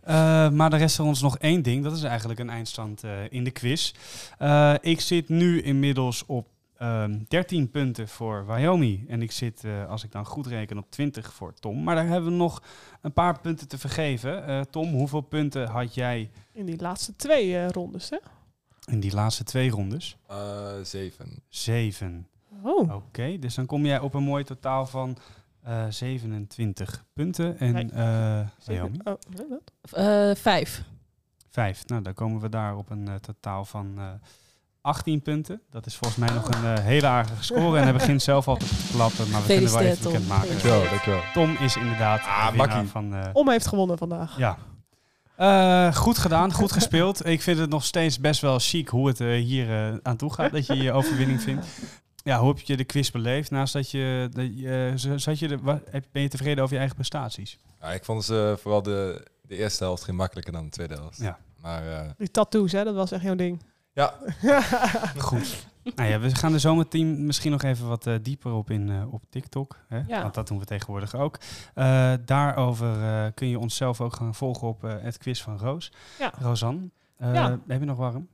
[SPEAKER 1] Eh, maar de rest van ons nog één ding. Dat is eigenlijk een eindstand eh, in de quiz. Eh, ik zit nu inmiddels op ehm 13 punten voor Wyoming. En ik zit, eh, als ik dan goed reken, op 20 voor Tom. Maar daar hebben we nog een paar punten te vergeven. Eh, Tom, hoeveel punten had jij
[SPEAKER 2] In die laatste twee eh, rondes, hè?
[SPEAKER 1] in die laatste twee rondes?
[SPEAKER 4] Eh, zeven.
[SPEAKER 1] Zeven.
[SPEAKER 2] Oh.
[SPEAKER 1] Oké, dus dan kom jij op een mooi totaal van eh, 27 punten. En
[SPEAKER 2] Nee.
[SPEAKER 1] eh Wyoming?
[SPEAKER 2] Oh, hè, wat?
[SPEAKER 3] Eh 5.
[SPEAKER 1] Vijf. Nou, dan komen we daar op een eh, totaal van eh 18 punten. Dat is volgens mij nog een eh, hele aardige score. En hij begint zelf al te klappen, maar we kunnen wel even
[SPEAKER 3] Gefeliciteerd, Tom.
[SPEAKER 1] bekend maken.
[SPEAKER 4] Dankjewel, dankjewel.
[SPEAKER 1] Tom is inderdaad
[SPEAKER 4] Ah,
[SPEAKER 1] de winnaar
[SPEAKER 4] makkie.
[SPEAKER 1] van... eh,
[SPEAKER 2] Om heeft gewonnen vandaag.
[SPEAKER 1] ja. Eh, goed gedaan, goed gespeeld. Ik vind het nog steeds best wel chic hoe het eh, hier eh, aan toe gaat. Dat je je overwinning vindt. Ja, hoe heb je de quiz beleefd? Naast dat je. Dat je eh, z- zat je de, wa- heb- ben je tevreden over je eigen prestaties?
[SPEAKER 4] Ja, ik vond ze vooral de, de eerste helft gemakkelijker dan de tweede helft.
[SPEAKER 1] Ja.
[SPEAKER 4] Maar eh,
[SPEAKER 2] Die tattoos, hè, dat was echt jouw ding.
[SPEAKER 4] ja,
[SPEAKER 1] Goed. nou ja, we gaan er zo meteen misschien nog even wat eh, dieper op in eh, op TikTok. Hè?
[SPEAKER 2] Ja.
[SPEAKER 1] Want dat doen we tegenwoordig ook. Eh, daarover eh, kun je onszelf ook gaan volgen op eh, het quiz van Roos.
[SPEAKER 2] Ja.
[SPEAKER 1] Rosanne, eh,
[SPEAKER 2] Ja.
[SPEAKER 1] heb je nog warm?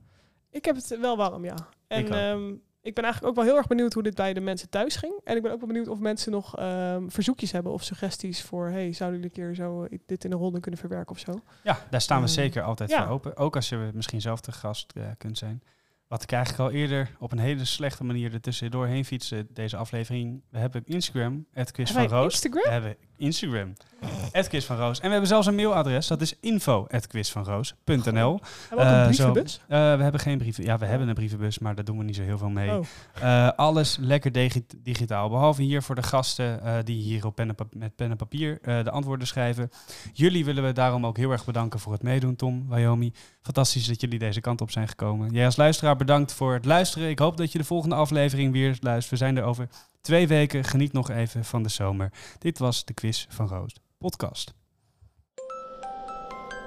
[SPEAKER 2] Ik heb het wel warm, ja. En
[SPEAKER 1] Ik
[SPEAKER 2] ik,
[SPEAKER 1] ook.
[SPEAKER 2] ik ben eigenlijk ook wel heel erg benieuwd hoe dit bij de mensen thuis ging. En ik ben ook wel benieuwd of mensen nog ehm, verzoekjes hebben of suggesties voor... hey, zouden jullie een keer zo eh, dit in een ronde kunnen verwerken of zo?
[SPEAKER 1] Ja, daar staan we
[SPEAKER 2] Eh,
[SPEAKER 1] zeker altijd
[SPEAKER 2] ja.
[SPEAKER 1] voor open. Ook als je misschien zelf te gast eh, kunt zijn. Wat ik eigenlijk al eerder op een hele slechte manier er tussendoor heen fietste, deze aflevering. We hebben Instagram, het quiz van
[SPEAKER 2] Hebben wij
[SPEAKER 1] Roos.
[SPEAKER 2] Instagram?
[SPEAKER 1] We hebben Instagram, het quiz van Roos. En we hebben zelfs een mailadres, dat is info at quizvanroos.nl.
[SPEAKER 2] Hebben we ook een
[SPEAKER 1] Eh, zo.
[SPEAKER 2] brievenbus?
[SPEAKER 1] Eh, we hebben geen brieven. Ja, we hebben een brievenbus, maar daar doen we niet zo heel veel mee.
[SPEAKER 2] Oh.
[SPEAKER 1] Eh, alles lekker digi- digitaal. Behalve hier voor de gasten eh, die hier op pen en pap- met pen en papier eh, de antwoorden schrijven. Jullie willen we daarom ook heel erg bedanken voor het meedoen, Tom, Wyoming. Fantastisch dat jullie deze kant op zijn gekomen. Jij als luisteraar bedankt voor het luisteren. Ik hoop dat je de volgende aflevering weer luistert. We zijn er over twee weken. Geniet nog even van de zomer. Dit was de Quiz van Roos podcast.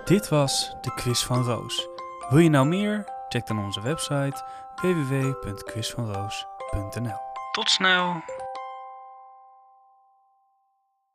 [SPEAKER 5] Dit was de Quiz van Roos. Wil je nou meer? Check dan onze website www.quizvanroos.nl Tot snel!